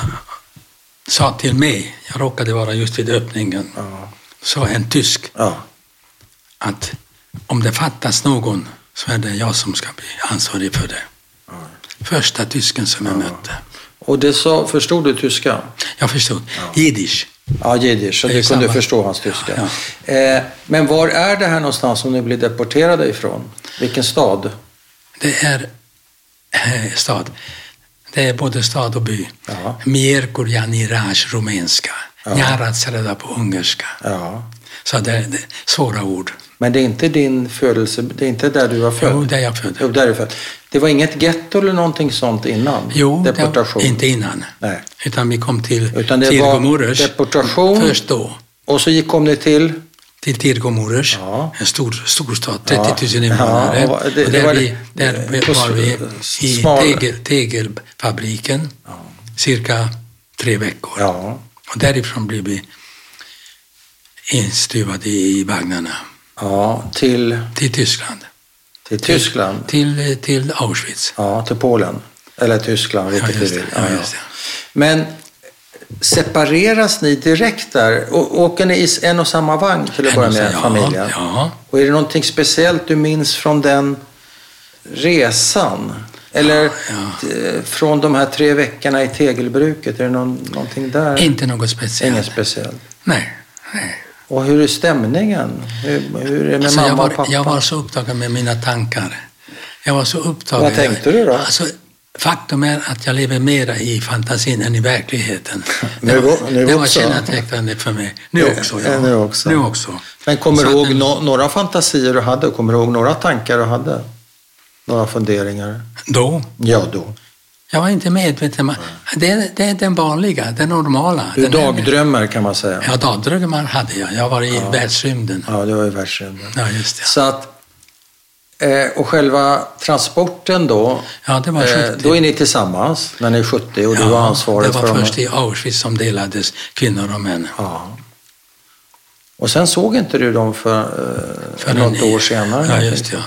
Speaker 1: sa till mig, jag råkade vara just vid öppningen,
Speaker 2: Ja.
Speaker 1: sa en tysk
Speaker 2: Ja.
Speaker 1: att om det fattas någon så är det jag som ska bli ansvarig för det.
Speaker 2: Ja.
Speaker 1: Första tysken som jag mötte.
Speaker 2: Och det sa, förstod du tyska?
Speaker 1: Jag förstod. Jiddisch.
Speaker 2: Ja, jiddisch. Så
Speaker 1: Det är
Speaker 2: du kunde
Speaker 1: samma.
Speaker 2: förstå hans tyska.
Speaker 1: Ja,
Speaker 2: Eh, men var är det här någonstans som ni blev deporterade ifrån? Vilken stad?
Speaker 1: Det är eh, stad. Det är både stad och by.
Speaker 2: Ja.
Speaker 1: Mierkurja Niraj, rumänska.
Speaker 2: Ja.
Speaker 1: Njaratsereda på ungerska.
Speaker 2: Ja.
Speaker 1: Så det är det är svåra ord.
Speaker 2: Men det är inte din födelse, det är inte där du var född?
Speaker 1: Jo, där jag
Speaker 2: Jo,
Speaker 1: föddes.
Speaker 2: där är du född. Det var inget getto eller någonting sånt innan?
Speaker 1: Jo, det-
Speaker 2: deportation?
Speaker 1: inte innan.
Speaker 2: Nej.
Speaker 1: Utan vi kom till
Speaker 2: Utan det var
Speaker 1: Tirgomorers.
Speaker 2: deportation.
Speaker 1: Först då.
Speaker 2: Och så gick, kom ni till?
Speaker 1: till Tirgomorers,
Speaker 2: Ja.
Speaker 1: en stor, stor stad,
Speaker 2: Ja.
Speaker 1: 30 000 invånare.
Speaker 2: Ja, och det-
Speaker 1: och
Speaker 2: det
Speaker 1: där,
Speaker 2: var-
Speaker 1: vi, där vi-
Speaker 2: på s-
Speaker 1: var vi i
Speaker 2: smal-
Speaker 1: tegel, tegelfabriken cirka tre veckor.
Speaker 2: Ja.
Speaker 1: Och därifrån blev vi instuvade i vagnarna
Speaker 2: Ja, till,
Speaker 1: till Tyskland.
Speaker 2: till Tyskland?
Speaker 1: Till, till Auschwitz.
Speaker 2: Ja, till Polen. Eller Tyskland,
Speaker 1: just
Speaker 2: vilket du
Speaker 1: det.
Speaker 2: vill.
Speaker 1: Ja, just det.
Speaker 2: Men separeras ni direkt där? Och, åker ni i en och samma vagn till att börja med,
Speaker 1: ja,
Speaker 2: familjen?
Speaker 1: Ja.
Speaker 2: Och är det någonting speciellt du minns från den resan? Eller eh, från de här tre veckorna i tegelbruket? Är det någon, någonting där?
Speaker 1: Inte något speciellt.
Speaker 2: Inget speciellt.
Speaker 1: Nej. Nej. och
Speaker 2: Och hur är stämningen? Hur, hur är det med
Speaker 1: alltså,
Speaker 2: mamma
Speaker 1: jag,
Speaker 2: och
Speaker 1: var,
Speaker 2: pappa?
Speaker 1: jag var så upptagen med mina tankar. Jag var så upptagen.
Speaker 2: Vad tänkte du då?
Speaker 1: Alltså, faktum är att jag lever mera i fantasin än i
Speaker 2: (laughs)
Speaker 1: verkligheten.
Speaker 2: Nu
Speaker 1: det
Speaker 2: o-
Speaker 1: var,
Speaker 2: nu
Speaker 1: det var
Speaker 2: också.
Speaker 1: kännetecknande för mig. Nu
Speaker 2: Ja,
Speaker 1: också.
Speaker 2: ja, nu också.
Speaker 1: Nu också.
Speaker 2: Men kommer
Speaker 1: Så
Speaker 2: du
Speaker 1: att
Speaker 2: ihåg
Speaker 1: den-
Speaker 2: no- några fantasier du hade? Kommer du ihåg några tankar du hade? Några funderingar?
Speaker 1: Då?
Speaker 2: Ja, då.
Speaker 1: Jag var inte medveten. Man, det, är- det är den vanliga, den normala.
Speaker 2: Du
Speaker 1: den
Speaker 2: dagdrömmer kan man säga.
Speaker 1: Ja, dagdrömmar hade jag. Jag var i världsrymden.
Speaker 2: Ja, det var ju världsrymden.
Speaker 1: Ja, just det.
Speaker 2: Så att, eh, och själva transporten då,
Speaker 1: Ja, det var
Speaker 2: eh,
Speaker 1: 70.
Speaker 2: då är ni tillsammans när ni är 70 och du har ansvaret
Speaker 1: det
Speaker 2: för
Speaker 1: var
Speaker 2: de här-
Speaker 1: först i Auschwitz som delades kvinnor och män.
Speaker 2: Ja. Och sen såg inte du dem för, eh,
Speaker 1: För
Speaker 2: något
Speaker 1: en-
Speaker 2: år senare?
Speaker 1: Ja, just det. Ja.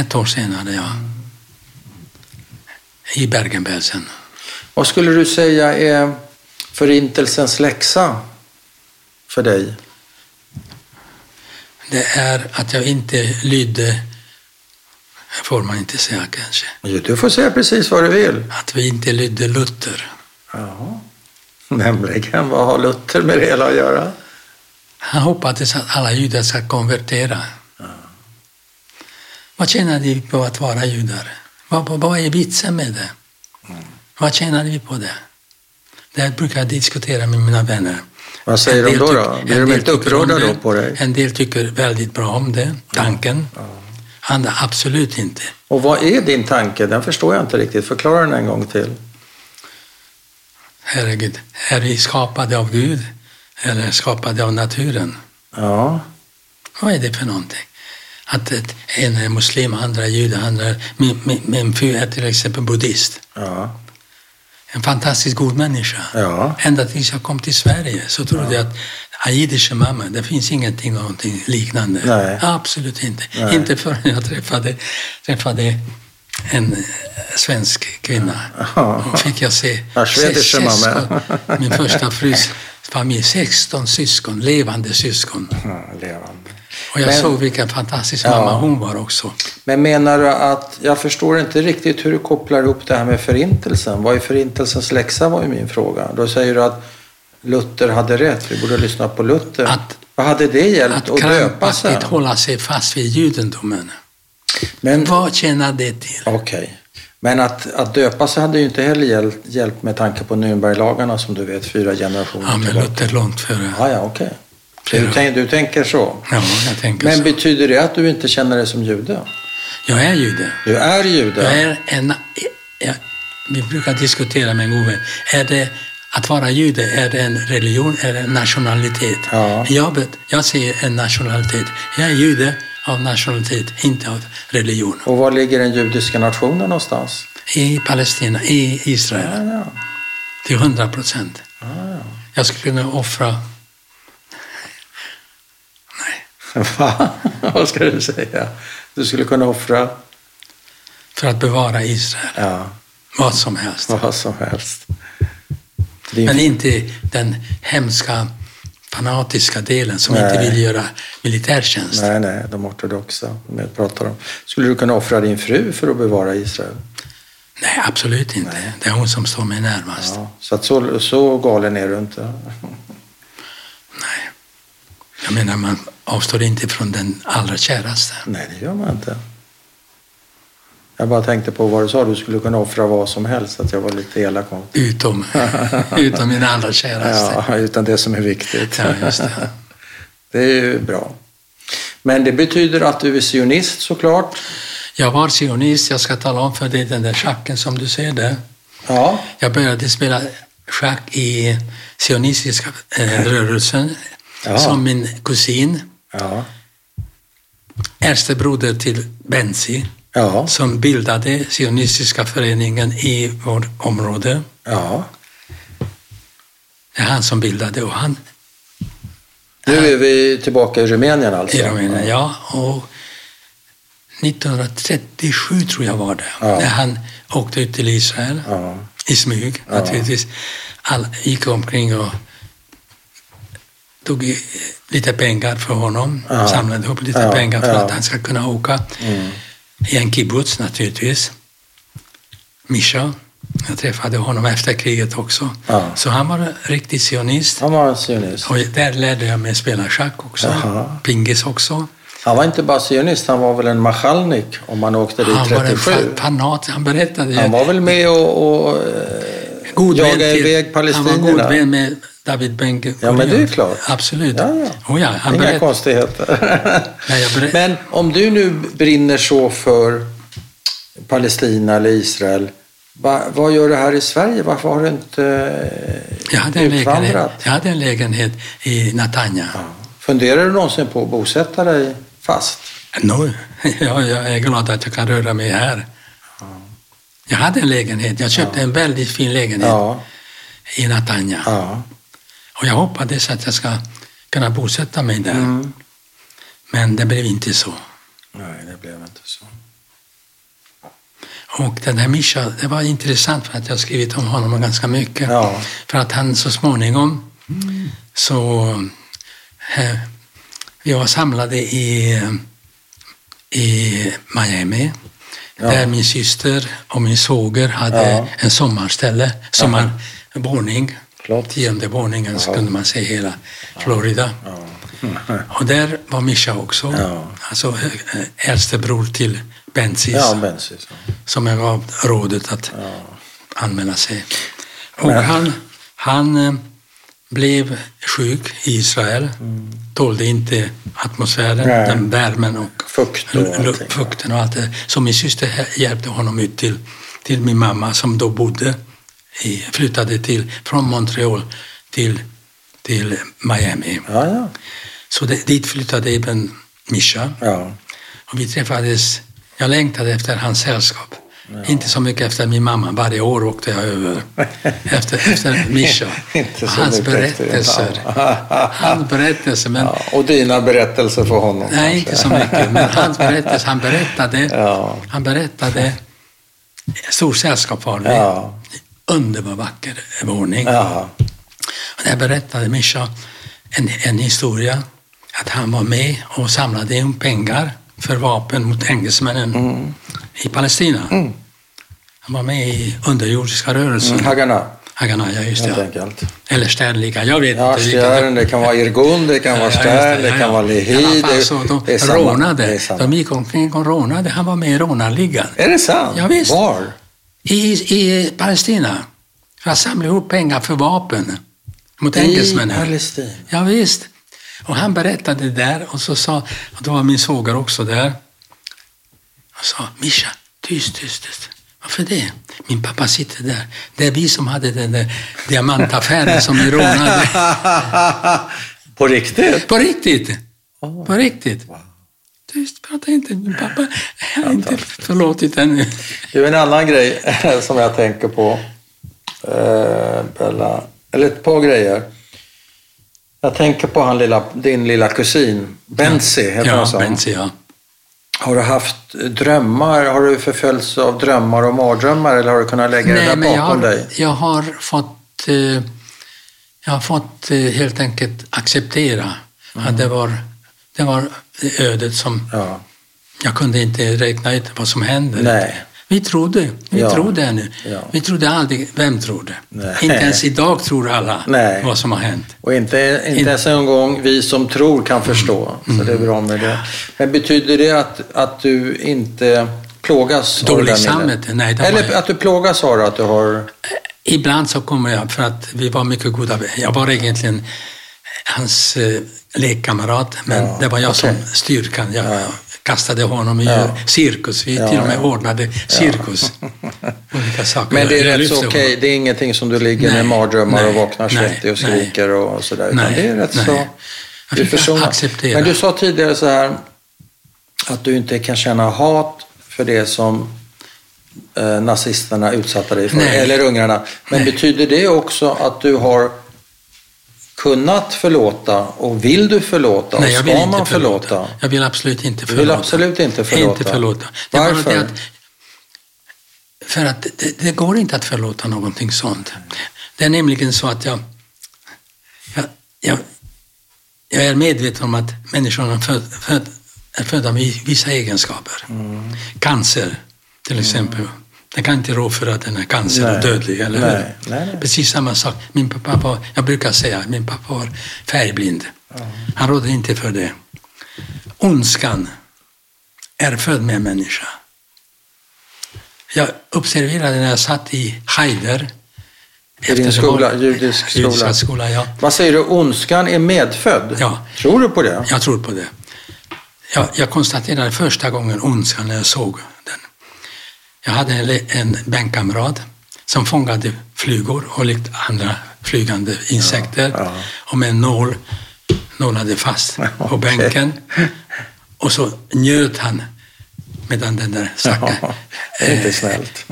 Speaker 1: Ett år senare, ja. I Bergen-Belsen.
Speaker 2: Vad skulle du säga är förintelsens läxa för dig?
Speaker 1: Det är att jag inte lydde, får man inte säga kanske,
Speaker 2: Jo, Du får säga precis vad du vill.
Speaker 1: att vi inte lydde Luther.
Speaker 2: Ja. Nämligen, vad har Luther med det hela att göra?
Speaker 1: Han hoppades att alla judar ska konvertera. Vad tjänar vi på att vara judar? Vad, vad, vad är vitsen med det?
Speaker 2: Mm.
Speaker 1: Vad tjänar vi på det? Det här brukar jag diskutera med mina vänner.
Speaker 2: Vad säger
Speaker 1: En
Speaker 2: de
Speaker 1: del
Speaker 2: då?
Speaker 1: tycker-
Speaker 2: då?
Speaker 1: en
Speaker 2: Blir de
Speaker 1: del
Speaker 2: inte
Speaker 1: tycker om
Speaker 2: upprörda
Speaker 1: det.
Speaker 2: då på dig?
Speaker 1: En del tycker väldigt bra om det, tanken. Andra absolut inte.
Speaker 2: Och vad är din tanke? Den förstår jag inte riktigt. Förklara den en gång till.
Speaker 1: Herregud, är vi skapade av Gud eller skapade av naturen?
Speaker 2: Ja,
Speaker 1: Vad är det för någonting? Att ett, en är muslim, andra är jude, andra är... Min, min, min fru är till exempel buddhist.
Speaker 2: ja,
Speaker 1: En fantastiskt god människa.
Speaker 2: ja.
Speaker 1: Ända tills jag kom till Sverige så trodde jag att jiddisch mamma, det finns ingenting någonting liknande.
Speaker 2: Nej.
Speaker 1: Absolut inte.
Speaker 2: Nej.
Speaker 1: Inte förrän jag träffade, träffade en eh, svensk kvinna.
Speaker 2: Ja. (laughs)
Speaker 1: Då fick jag se...
Speaker 2: Ja, schwedische
Speaker 1: se-
Speaker 2: mamma.
Speaker 1: syskon. Min första frus familj, 16 syskon, levande syskon.
Speaker 2: Mm, levande.
Speaker 1: Och jag
Speaker 2: Men-
Speaker 1: såg vilken fantastisk
Speaker 2: Ja.
Speaker 1: mamma hon var också.
Speaker 2: Men menar du att, jag förstår inte riktigt hur du kopplar ihop det här med förintelsen. Vad är förintelsens läxa var ju min fråga. Då säger du att Luther hade rätt, vi borde lyssna på Luther.
Speaker 1: Att-
Speaker 2: Vad hade det hjälpt
Speaker 1: Att
Speaker 2: att döpa sig?
Speaker 1: krampaktigt hålla sig fast vid judendomen.
Speaker 2: Men,
Speaker 1: Vad tjänar det till?
Speaker 2: okej. Men att, att döpa sig hade ju inte heller hjälpt, hjälpt med tanke på Nürnberglagarna som du vet, fyra generationer
Speaker 1: Ja, men
Speaker 2: tillbaka.
Speaker 1: Luther långt före.
Speaker 2: Ja, ja, okej. Du,
Speaker 1: Flera. Alltså-
Speaker 2: tänk, du tänker så.
Speaker 1: Ja, jag tänker
Speaker 2: Men
Speaker 1: så.
Speaker 2: betyder det att du inte känner dig som jude?
Speaker 1: Jag är jude.
Speaker 2: Du är
Speaker 1: Jag
Speaker 2: jude.
Speaker 1: är en, jag, vi brukar diskutera med en god vän. Är det, att vara jude, är det en religion eller en nationalitet?
Speaker 2: Ja.
Speaker 1: Jag, bet- jag ser en nationalitet. Jag är jude av nationalitet, inte av religion.
Speaker 2: Och var ligger den judiska nationen någonstans?
Speaker 1: I Palestina, i Israel,
Speaker 2: Ja, ja.
Speaker 1: till 100 procent. Jag skulle kunna offra... Nej,
Speaker 2: (laughs) Va? Vad ska du säga? Du skulle kunna offra
Speaker 1: för att bevara Israel.
Speaker 2: ja,
Speaker 1: Vad som helst.
Speaker 2: vad som helst. Din,
Speaker 1: Men inte den hemska fanatiska delen som
Speaker 2: Nej.
Speaker 1: inte vill göra militärtjänst.
Speaker 2: nej, nej, de ortodoxa som jag pratar om. Skulle du kunna offra din fru för att bevara Israel?
Speaker 1: Nej, absolut inte. Det är hon som står mig närmast.
Speaker 2: Ja, så, att så, så galen är du inte. (laughs)
Speaker 1: Nej. Jag menar, man avstår inte från den allra käraste.
Speaker 2: Nej, det gör man inte. Jag bara tänkte på vad du sa, du skulle kunna offra vad som helst, att jag var lite elak mot (laughs)
Speaker 1: Utom, utom min allra käraste.
Speaker 2: Ja, utan det som är viktigt.
Speaker 1: Ja, just det.
Speaker 2: Det är ju bra. Men det betyder att du är sionist såklart.
Speaker 1: Jag var sionist, jag ska tala om för dig den där schacken som du ser där.
Speaker 2: Ja,
Speaker 1: Jag började spela schack i sionistiska
Speaker 2: (laughs)
Speaker 1: eh, rörelsen
Speaker 2: Ja.
Speaker 1: som min kusin,
Speaker 2: ja,
Speaker 1: äldste broder till Benzi,
Speaker 2: ja,
Speaker 1: som bildade sionistiska föreningen i vårt område.
Speaker 2: ja.
Speaker 1: Det är han som bildade och han
Speaker 2: Nu är vi tillbaka i Rumänien alltså.
Speaker 1: i Rumänien, ja. Och 1937 tror jag var det,
Speaker 2: Ja.
Speaker 1: när han åkte ut till Israel
Speaker 2: Ja,
Speaker 1: i smyg naturligtvis. Alla gick omkring och tog i- lite pengar för honom,
Speaker 2: Ja.
Speaker 1: samlade ihop lite
Speaker 2: Ja,
Speaker 1: pengar för
Speaker 2: ja. Mm.
Speaker 1: att han ska kunna åka. I en kibbutz naturligtvis. Misha, jag träffade honom efter kriget också.
Speaker 2: Ja.
Speaker 1: Så han var en riktig sionist.
Speaker 2: han var en sionist.
Speaker 1: Och där lärde jag mig spela schack också,
Speaker 2: Jaha.
Speaker 1: pingis också.
Speaker 2: Han var inte bara sionist, han var väl en machalnik om man åkte dit
Speaker 1: Han var en
Speaker 2: 37.
Speaker 1: fa- fanat, han berättade ju.
Speaker 2: Han var väl med och... och eh,
Speaker 1: god
Speaker 2: jaga
Speaker 1: vän till-
Speaker 2: iväg
Speaker 1: Han var god
Speaker 2: palestinierna.
Speaker 1: vän med David Ben Gurion.
Speaker 2: Ja, men det är klart.
Speaker 1: Absolut.
Speaker 2: Ja, ja.
Speaker 1: Oh, ja, han
Speaker 2: Inga
Speaker 1: berätt...
Speaker 2: konstigheter.
Speaker 1: (laughs) Nej, jag berätt...
Speaker 2: Men om du nu brinner så för Palestina eller Israel, va, vad gör du här i Sverige? Varför har du inte eh,
Speaker 1: jag, hade en lägenhet, jag hade en lägenhet i Natanja.
Speaker 2: Ja. Funderar du någonsin på att bosätta dig fast?
Speaker 1: (laughs) No, jag, jag är glad att jag kan röra mig här. Jag hade en lägenhet. Jag köpte en väldigt fin lägenhet
Speaker 2: Ja.
Speaker 1: i Natanja.
Speaker 2: ja.
Speaker 1: Och jag hoppades att jag ska kunna bosätta mig där.
Speaker 2: Mm.
Speaker 1: Men det blev inte så.
Speaker 2: Nej, det blev inte så.
Speaker 1: Och den här Mischa, det var intressant för att jag har skrivit om honom ganska mycket.
Speaker 2: Ja.
Speaker 1: För att han så småningom så... Eh, vi var samlade i, i Miami.
Speaker 2: Ja.
Speaker 1: Där min syster och min svåger hade
Speaker 2: Ja.
Speaker 1: en sommarställe, sommarvåning.
Speaker 2: Klart.
Speaker 1: Tionde våningen så
Speaker 2: Ja.
Speaker 1: kunde man se hela Florida.
Speaker 2: Ja.
Speaker 1: Och där var Mischa också.
Speaker 2: Ja.
Speaker 1: Alltså eh, äldste bror till Benzis
Speaker 2: Ja, men precis.
Speaker 1: som jag gav rådet att anmäla sig. Och
Speaker 2: Men-
Speaker 1: han, han eh, blev sjuk i Israel. Tålde inte atmosfären,
Speaker 2: Mm. Nej.
Speaker 1: den värmen och
Speaker 2: Fukt och
Speaker 1: lu- lu-
Speaker 2: allting.
Speaker 1: fukten och allt det. Så min syster hä- hjälpte honom ut till, till min mamma som då bodde, i, flyttade till, från Montreal till, till Miami.
Speaker 2: Ja, ja.
Speaker 1: Så det, dit flyttade även Mischa.
Speaker 2: ja.
Speaker 1: Och vi träffades, jag längtade efter hans sällskap. Inte så mycket efter min mamma, varje år åkte jag
Speaker 2: (laughs)
Speaker 1: över. Efter, efter Mischa.
Speaker 2: Inte
Speaker 1: Och
Speaker 2: så
Speaker 1: hans
Speaker 2: mycket efter din
Speaker 1: berättelser.
Speaker 2: (laughs) mamma.
Speaker 1: hans berättelser, men...
Speaker 2: ja. Och dina berättelser för honom?
Speaker 1: Nej, inte så mycket. Men hans berättelser, han berättade.
Speaker 2: Ja.
Speaker 1: Han berättade. Stor sällskap var vi.
Speaker 2: Ja.
Speaker 1: Underbar vacker våning.
Speaker 2: Ja.
Speaker 1: Och Där berättade Mischa en, en historia, att han var med och samlade in pengar för vapen mot engelsmännen
Speaker 2: Mm.
Speaker 1: i Palestina. Han var med i underjordiska rörelsen.
Speaker 2: Hagarna.
Speaker 1: Haganaja, just
Speaker 2: Mm, helt
Speaker 1: det. Mm. ja.
Speaker 2: enkelt.
Speaker 1: Eller Sternlika, jag vet
Speaker 2: Ja,
Speaker 1: inte. vilka-
Speaker 2: Stjärn, det kan vara Irgun, det kan vara
Speaker 1: just
Speaker 2: Stjärn, det kan vara
Speaker 1: I alla
Speaker 2: Lehi.
Speaker 1: fall så, de
Speaker 2: det är samma- det
Speaker 1: rånade.
Speaker 2: är samma.
Speaker 1: De gick omkring och rånade. Han var med i rånarligan.
Speaker 2: Är det sant?
Speaker 1: Ja, visst.
Speaker 2: Var?
Speaker 1: I, I Palestina. För att samla ihop pengar för vapen mot
Speaker 2: I
Speaker 1: engelsmännen.
Speaker 2: Palestina. (laughs)
Speaker 1: Ja, visst. Och han berättade det där och så sa, och då var min svåger också där. Och sa, Mischa, tyst, tyst, tyst. Varför det? Min pappa sitter där. Det är vi som hade den där diamantaffären som vi
Speaker 2: (laughs)
Speaker 1: rånade.
Speaker 2: På riktigt?
Speaker 1: På riktigt!
Speaker 2: Oh.
Speaker 1: På riktigt. Tyst, prata inte. Min pappa har inte förlåtit ännu.
Speaker 2: Det är en annan grej (laughs) som jag tänker på. Eh, Bella. Eller ett par grejer. Jag tänker på han lilla, din lilla kusin, Bensi heter han
Speaker 1: Ja,
Speaker 2: så.
Speaker 1: Benzi, ja.
Speaker 2: Har du haft drömmar? Har du förföljts av drömmar och mardrömmar eller har du kunnat lägga det där
Speaker 1: jag
Speaker 2: bakom
Speaker 1: har,
Speaker 2: dig?
Speaker 1: jag har fått, eh, jag har fått eh, helt enkelt acceptera
Speaker 2: Mm.
Speaker 1: att det var, det var ödet som,
Speaker 2: Ja.
Speaker 1: jag kunde inte räkna ut vad som hände.
Speaker 2: Nej.
Speaker 1: Vi trodde, vi
Speaker 2: Ja.
Speaker 1: trodde ännu.
Speaker 2: Ja.
Speaker 1: Vi trodde aldrig, vem trodde?
Speaker 2: Nej.
Speaker 1: Inte ens idag tror alla
Speaker 2: Nej.
Speaker 1: vad som har hänt.
Speaker 2: Och inte, inte ens en gång vi som tror kan förstå.
Speaker 1: Mm,
Speaker 2: Så det är bra med det. Men betyder det att, att du inte plågas av det
Speaker 1: Dåligt
Speaker 2: där minnet?
Speaker 1: samvete? Nej, det har jag-
Speaker 2: Eller att du plågas av det, att du har...
Speaker 1: Ibland så kommer jag, för att vi var mycket goda vänner. Jag var egentligen hans eh, lekkamrat, men
Speaker 2: Ja,
Speaker 1: det var jag
Speaker 2: okej.
Speaker 1: som styrkan. Jag kastade honom i cirkus. Vi
Speaker 2: Ja,
Speaker 1: till och med
Speaker 2: ja.
Speaker 1: ordnade cirkus.
Speaker 2: (laughs)
Speaker 1: Olika saker.
Speaker 2: Men det är
Speaker 1: Jag
Speaker 2: rätt så
Speaker 1: lyfte
Speaker 2: okej,
Speaker 1: honom.
Speaker 2: det är ingenting som du ligger
Speaker 1: Nej,
Speaker 2: med mardrömmar och
Speaker 1: nej,
Speaker 2: vaknar
Speaker 1: nej,
Speaker 2: svettig och
Speaker 1: nej.
Speaker 2: skriker och sådär. Utan
Speaker 1: Nej,
Speaker 2: det är rätt
Speaker 1: nej.
Speaker 2: så...
Speaker 1: Jag (laughs)
Speaker 2: du
Speaker 1: fick
Speaker 2: försonar.
Speaker 1: acceptera.
Speaker 2: Men du sa tidigare så här att du inte kan känna hat för det som eh, nazisterna utsatte dig för,
Speaker 1: Nej.
Speaker 2: eller ungrarna. Men
Speaker 1: Nej.
Speaker 2: betyder det också att du har kunnat förlåta och vill du förlåta
Speaker 1: Nej, jag
Speaker 2: och
Speaker 1: vill
Speaker 2: ska
Speaker 1: inte
Speaker 2: man förlåta?
Speaker 1: förlåta. Jag vill absolut inte
Speaker 2: Du
Speaker 1: förlåta.
Speaker 2: vill absolut inte förlåta.
Speaker 1: Inte förlåta. Det är bara
Speaker 2: Varför?
Speaker 1: det att, för att det, det går inte att förlåta någonting sånt. Det är nämligen så att jag, jag, jag, jag är medveten om att människorna föd, föd, är födda med vissa egenskaper.
Speaker 2: Mm.
Speaker 1: Cancer, till exempel. Den kan inte rå för att den är cancer
Speaker 2: Nej.
Speaker 1: och dödlig, eller hur?
Speaker 2: Nej, nej, nej.
Speaker 1: Precis samma sak. Min pappa var, jag brukar säga, min pappa var färgblind. Han rådde inte för det. Ondskan är född med en människa. Jag observerade när jag satt i Haider.
Speaker 2: I din
Speaker 1: eftersom-
Speaker 2: skola, judisk skola.
Speaker 1: Judiska skola, ja.
Speaker 2: Vad säger du, ondskan är medfödd?
Speaker 1: Ja.
Speaker 2: Tror du på det?
Speaker 1: Jag tror på det. Jag, jag konstaterade första gången ondskan när jag såg den. Jag hade en, le- en bänkkamrat som fångade flugor och likt andra flygande insekter
Speaker 2: ja.
Speaker 1: och med en nål nålade fast på
Speaker 2: (laughs) Okej.
Speaker 1: bänken. Och så njöt han medan den där stackaren...
Speaker 2: det
Speaker 1: Eh.
Speaker 2: är (laughs) inte snällt.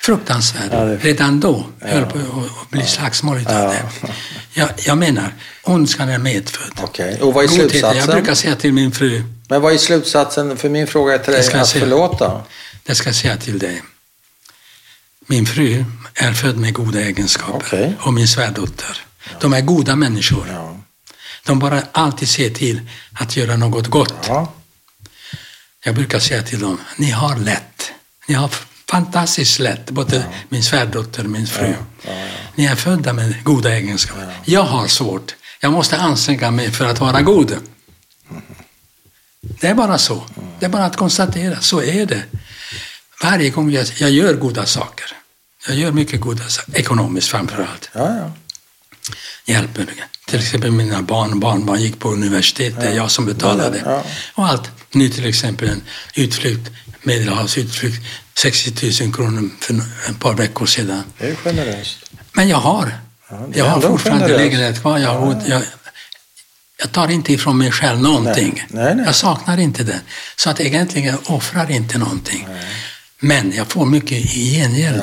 Speaker 1: Fruktansvärd.
Speaker 2: Ja, det-
Speaker 1: Redan då höll på att att bli slagsmål utav
Speaker 2: Ja.
Speaker 1: det. Jag, jag menar, ondskan är medfödd.
Speaker 2: Okej, och vad är
Speaker 1: Godheten, Jag
Speaker 2: slutsatsen?
Speaker 1: brukar säga till min fru,
Speaker 2: Men vad är slutsatsen? För min fråga är till
Speaker 1: Jag
Speaker 2: dig,
Speaker 1: ska
Speaker 2: att
Speaker 1: se.
Speaker 2: förlåta.
Speaker 1: det ska jag säga till dig. Min fru är född med goda egenskaper.
Speaker 2: Okej.
Speaker 1: Och min svärdotter. De är goda människor.
Speaker 2: Ja.
Speaker 1: De bara alltid ser till att göra något gott.
Speaker 2: ja.
Speaker 1: Jag brukar säga till dem, ni har lätt. Ni har fantastiskt lätt, både min svärdotter och min fru. Ni är födda med goda egenskaper. Jag har svårt. Jag måste anstränga mig för att vara god. Det är bara så. Det är bara att konstatera, så är det. Varje gång jag, jag gör goda saker, jag gör mycket goda saker, ekonomiskt framför allt,
Speaker 2: Ja, ja.
Speaker 1: hjälper. Till exempel mina barn och barnbarn gick på universitet, det är jag som betalade.
Speaker 2: Ja.
Speaker 1: Och allt. Nu till exempel en utflykt, Medelhavsutflykt, 60 000 kronor för ett par veckor sedan.
Speaker 2: Det är generöst.
Speaker 1: Men jag har.
Speaker 2: det är
Speaker 1: jag har
Speaker 2: ändå
Speaker 1: fortfarande
Speaker 2: generöst.
Speaker 1: lägenhet kvar. Jag, har, jag, jag tar inte ifrån mig själv någonting.
Speaker 2: Nej, nej, nej.
Speaker 1: Jag saknar inte den. Så att egentligen jag offrar inte någonting. Men jag får mycket i gengäld.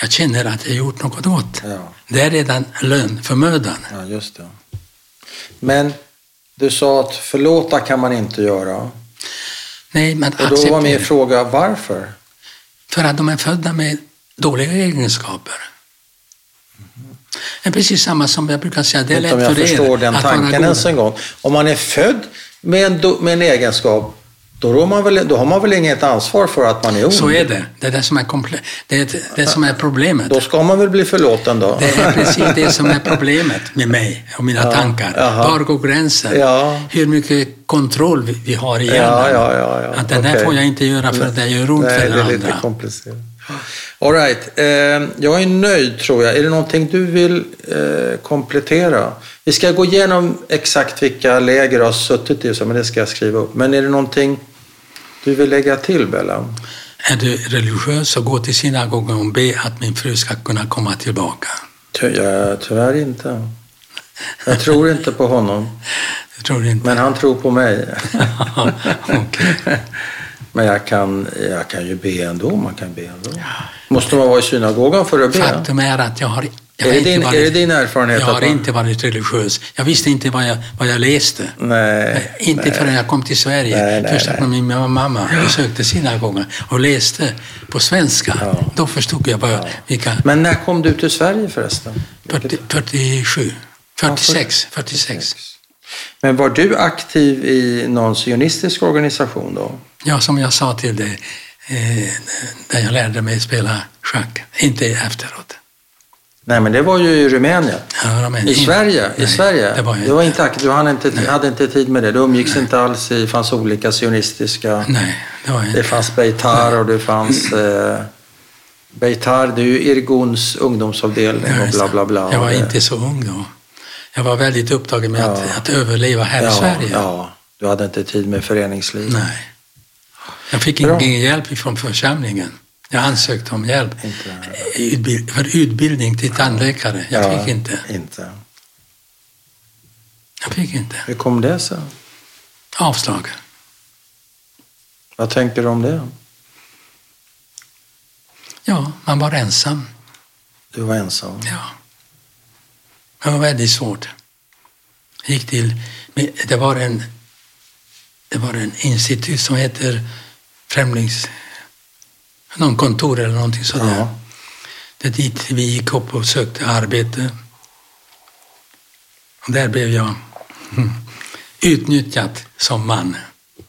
Speaker 1: Jag känner att jag gjort något gott.
Speaker 2: Ja.
Speaker 1: Det är redan lön för mödan.
Speaker 2: Ja, just det. Men du sa att förlåta kan man inte göra.
Speaker 1: Nej, men
Speaker 2: Och då var min
Speaker 1: acceptera.
Speaker 2: fråga varför?
Speaker 1: För att de är födda med dåliga egenskaper. Det är precis samma som jag brukar säga, det är
Speaker 2: Mm-hmm. Inte om
Speaker 1: lätt
Speaker 2: jag
Speaker 1: för
Speaker 2: förstår
Speaker 1: er
Speaker 2: den Alltså,
Speaker 1: att vara
Speaker 2: tanken
Speaker 1: goda.
Speaker 2: ens en gång. Om man är född med en, do- med en egenskap Då, rår man väl, då har man väl inget ansvar för att man är ond?
Speaker 1: Så är det. Det är det som är, komple- det är, det som är problemet.
Speaker 2: Då ska man väl bli förlåten då?
Speaker 1: Det är precis det som är problemet med mig och mina tankar.
Speaker 2: jaha.
Speaker 1: Var går gränsen?
Speaker 2: Ja.
Speaker 1: Hur mycket kontroll vi- vi har i hjärnan.
Speaker 2: Ja, ja, ja, ja.
Speaker 1: Att den där
Speaker 2: Okej.
Speaker 1: får jag inte göra för det gör ont
Speaker 2: Nej,
Speaker 1: för
Speaker 2: det
Speaker 1: den
Speaker 2: är lite
Speaker 1: andra.
Speaker 2: komplicerat. All right. eh, jag är nöjd tror jag. Är det någonting du vill eh, komplettera? Vi ska gå igenom exakt vilka läger du har suttit i, och så, men det ska jag skriva upp. Men är det någonting du vill lägga till, Bella?
Speaker 1: Är du religiös så gå till synagogan och be att min fru ska kunna komma tillbaka.
Speaker 2: Ty- jag, tyvärr inte. Jag tror inte på honom,
Speaker 1: Jag tror inte.
Speaker 2: men han tror på mig.
Speaker 1: (laughs) Okej.
Speaker 2: Men jag kan, jag kan ju be ändå. Man kan be ändå. Måste man vara i synagogan för att be?
Speaker 1: Faktum är att jag har, jag
Speaker 2: Är
Speaker 1: har
Speaker 2: det
Speaker 1: inte
Speaker 2: din-
Speaker 1: varit,
Speaker 2: är det din erfarenhet
Speaker 1: Jag
Speaker 2: att
Speaker 1: har
Speaker 2: man-
Speaker 1: inte varit religiös. Jag visste inte vad jag, vad jag läste.
Speaker 2: Nej.
Speaker 1: Inte förrän jag kom till Sverige.
Speaker 2: Nej, nej,
Speaker 1: Första gången min mamma besökte synagogan och läste på svenska. Då förstod jag bara vilka...
Speaker 2: Men när kom du till Sverige förresten?
Speaker 1: 40, 47. 46. 46.
Speaker 2: Men var du aktiv i någon sionistisk organisation då?
Speaker 1: Ja, som jag sa till dig, eh, när jag lärde mig spela schack. Inte efteråt.
Speaker 2: Nej, men det var ju i Rumänien.
Speaker 1: Ja, men
Speaker 2: I
Speaker 1: inte-
Speaker 2: Sverige? I
Speaker 1: nej,
Speaker 2: Sverige?
Speaker 1: Det var jag
Speaker 2: du var
Speaker 1: inte.
Speaker 2: inte aktiv, du hann inte, hade inte tid med det. Du umgicks inte alls i, fanns olika sionistiska...
Speaker 1: Nej, Mm. det var jag
Speaker 2: Det
Speaker 1: inte.
Speaker 2: fanns Beitar och det fanns... Eh, Beitar, det är ju Irguns ungdomsavdelning och bla bla bla.
Speaker 1: Jag var
Speaker 2: Det-
Speaker 1: inte så ung då. Jag var väldigt upptagen med
Speaker 2: Ja.
Speaker 1: att, att överleva här
Speaker 2: ja,
Speaker 1: i Sverige.
Speaker 2: Ja, du hade inte tid med föreningsliv.
Speaker 1: Nej. Jag fick
Speaker 2: Bra.
Speaker 1: ingen hjälp från församlingen. Jag ansökte om hjälp Utbil- för utbildning till tandläkare. Jag
Speaker 2: Ja,
Speaker 1: fick inte.
Speaker 2: inte.
Speaker 1: Jag fick inte.
Speaker 2: Hur kom det sig?
Speaker 1: Avslag.
Speaker 2: Vad tänker du om det?
Speaker 1: Ja, man var ensam.
Speaker 2: Du var ensam.
Speaker 1: Ja. Det var väldigt svårt. Jag gick till, men det var en, det var en institut som heter Främlings... Någon kontor eller någonting sådär.
Speaker 2: Ja.
Speaker 1: Det är dit vi gick upp och sökte arbete. Och där blev jag (laughs) mm, utnyttjad som man.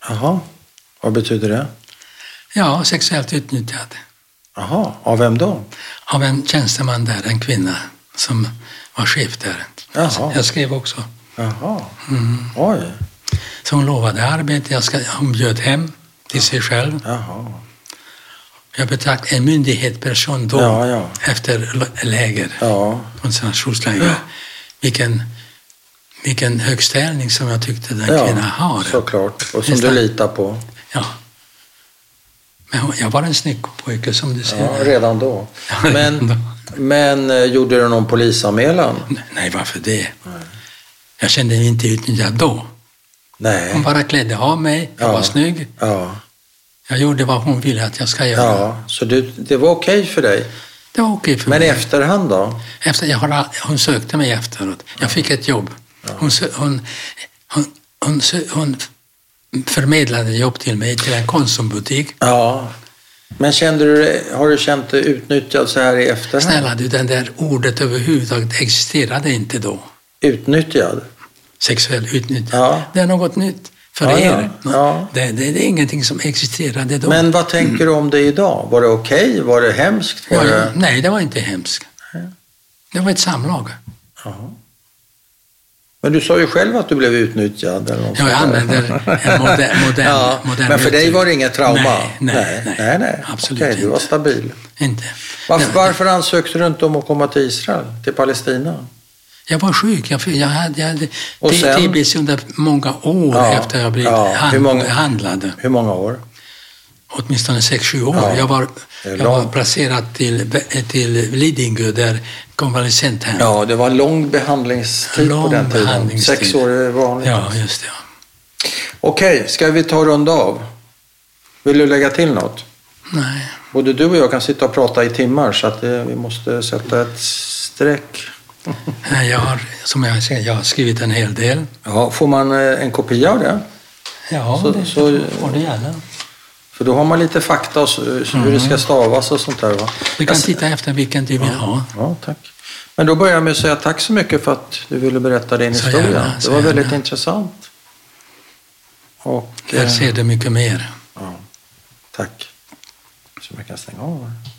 Speaker 2: Jaha. Vad betyder det?
Speaker 1: Ja, sexuellt utnyttjad.
Speaker 2: Jaha. Av vem då?
Speaker 1: Av en tjänsteman där, en kvinna som var chef där.
Speaker 2: Jaha.
Speaker 1: Jag skrev också.
Speaker 2: Jaha.
Speaker 1: Mm.
Speaker 2: Oj.
Speaker 1: Så hon lovade arbete, jag ska, hon bjöd hem till sig själv.
Speaker 2: Jaha.
Speaker 1: Jag betraktade en myndighetsperson då,
Speaker 2: Ja, ja.
Speaker 1: efter l- läger,
Speaker 2: Ja.
Speaker 1: koncentrationsläger. Vilken, vilken högställning som jag tyckte den
Speaker 2: ja.
Speaker 1: kvinnan har.
Speaker 2: Såklart. Och som
Speaker 1: Nästan.
Speaker 2: du litar på.
Speaker 1: Ja. Men hon, jag var en snygg pojke som du
Speaker 2: Ja,
Speaker 1: ser.
Speaker 2: redan då.
Speaker 1: Ja, redan
Speaker 2: Men,
Speaker 1: då.
Speaker 2: men eh, gjorde du någon polisanmälan?
Speaker 1: (laughs) Nej, varför det? Jag kände mig inte utnyttjad då. Hon
Speaker 2: Nej.
Speaker 1: bara klädde av mig, jag
Speaker 2: Ja.
Speaker 1: var snygg.
Speaker 2: Ja.
Speaker 1: Jag gjorde vad hon ville att jag ska göra.
Speaker 2: ja. Så du, det var okej för dig.
Speaker 1: Det var okej för
Speaker 2: Men i
Speaker 1: mig.
Speaker 2: efterhand då?
Speaker 1: Efter, jag har, all- hon sökte mig efteråt. Jag fick ett jobb. Hon, sö- hon, hon, hon, sö- hon f- förmedlade jobb till mig till en Konsumbutik.
Speaker 2: Ja. Men kände du, dig- har du känt dig utnyttjad så här i efterhand?
Speaker 1: Snälla du, det där ordet överhuvudtaget existerade inte då.
Speaker 2: Utnyttjad?
Speaker 1: Sexuell utnyttjande.
Speaker 2: Ja.
Speaker 1: Det är något nytt för
Speaker 2: Ja, ja.
Speaker 1: er.
Speaker 2: Ja.
Speaker 1: Det, det, det är ingenting som existerade då.
Speaker 2: Men vad tänker du om det idag? Var det okej? Var det hemskt? Var
Speaker 1: Ja, ja.
Speaker 2: det...
Speaker 1: Nej, det var inte hemskt. Det var ett samlag.
Speaker 2: Jaha. Men du sa ju själv att du blev utnyttjad. Eller något
Speaker 1: Ja, jag
Speaker 2: sånt där.
Speaker 1: använder en
Speaker 2: (laughs)
Speaker 1: modern, modern,
Speaker 2: ja,
Speaker 1: modern
Speaker 2: men för dig
Speaker 1: uttryck.
Speaker 2: var det inget trauma?
Speaker 1: Nej, nej, nej.
Speaker 2: nej, nej.
Speaker 1: Absolut
Speaker 2: Okej, du var
Speaker 1: inte.
Speaker 2: stabil.
Speaker 1: Inte.
Speaker 2: Varför,
Speaker 1: Nej,
Speaker 2: varför ansökte du inte om att komma till Israel, till Palestina?
Speaker 1: Jag var sjuk. Jag, jag hade, jag hade
Speaker 2: Och
Speaker 1: ti-
Speaker 2: sen?
Speaker 1: tibis under många år
Speaker 2: Ja,
Speaker 1: efter jag blivit
Speaker 2: ja. Hur
Speaker 1: hand,
Speaker 2: många-
Speaker 1: behandlad.
Speaker 2: Hur många år?
Speaker 1: Åtminstone sex sju år.
Speaker 2: Ja,
Speaker 1: Jag var,
Speaker 2: det är
Speaker 1: jag var
Speaker 2: långt.
Speaker 1: placerad till, till Lidingö, där konvalescenthem.
Speaker 2: Ja, det var lång behandlingstid på
Speaker 1: Lång
Speaker 2: den tiden.
Speaker 1: behandlingstid.
Speaker 2: Sex år är vanligt.
Speaker 1: Ja, just det. ja.
Speaker 2: Okej, ska vi ta runda av? Vill du lägga till något?
Speaker 1: Nej.
Speaker 2: Både du och jag kan sitta och prata i timmar så att eh, vi måste sätta ett streck.
Speaker 1: Nej, jag har, som jag säger, jag har skrivit en hel del.
Speaker 2: Ja, får man eh, en kopia av det?
Speaker 1: Ja,
Speaker 2: Så-
Speaker 1: det
Speaker 2: så-
Speaker 1: får du gärna.
Speaker 2: För då har man lite fakta och så, hur det ska stavas och sånt där. Va?
Speaker 1: Du kan titta efter vilken du vill ha.
Speaker 2: Ja, tack. Men då börjar jag med att säga tack så mycket för att du ville berätta din
Speaker 1: Så
Speaker 2: historia.
Speaker 1: gärna,
Speaker 2: det
Speaker 1: så
Speaker 2: var väldigt
Speaker 1: gärna.
Speaker 2: intressant. Och,
Speaker 1: Där
Speaker 2: eh,
Speaker 1: ser du mycket mer.
Speaker 2: ja, tack. Så man kan stänga av. här.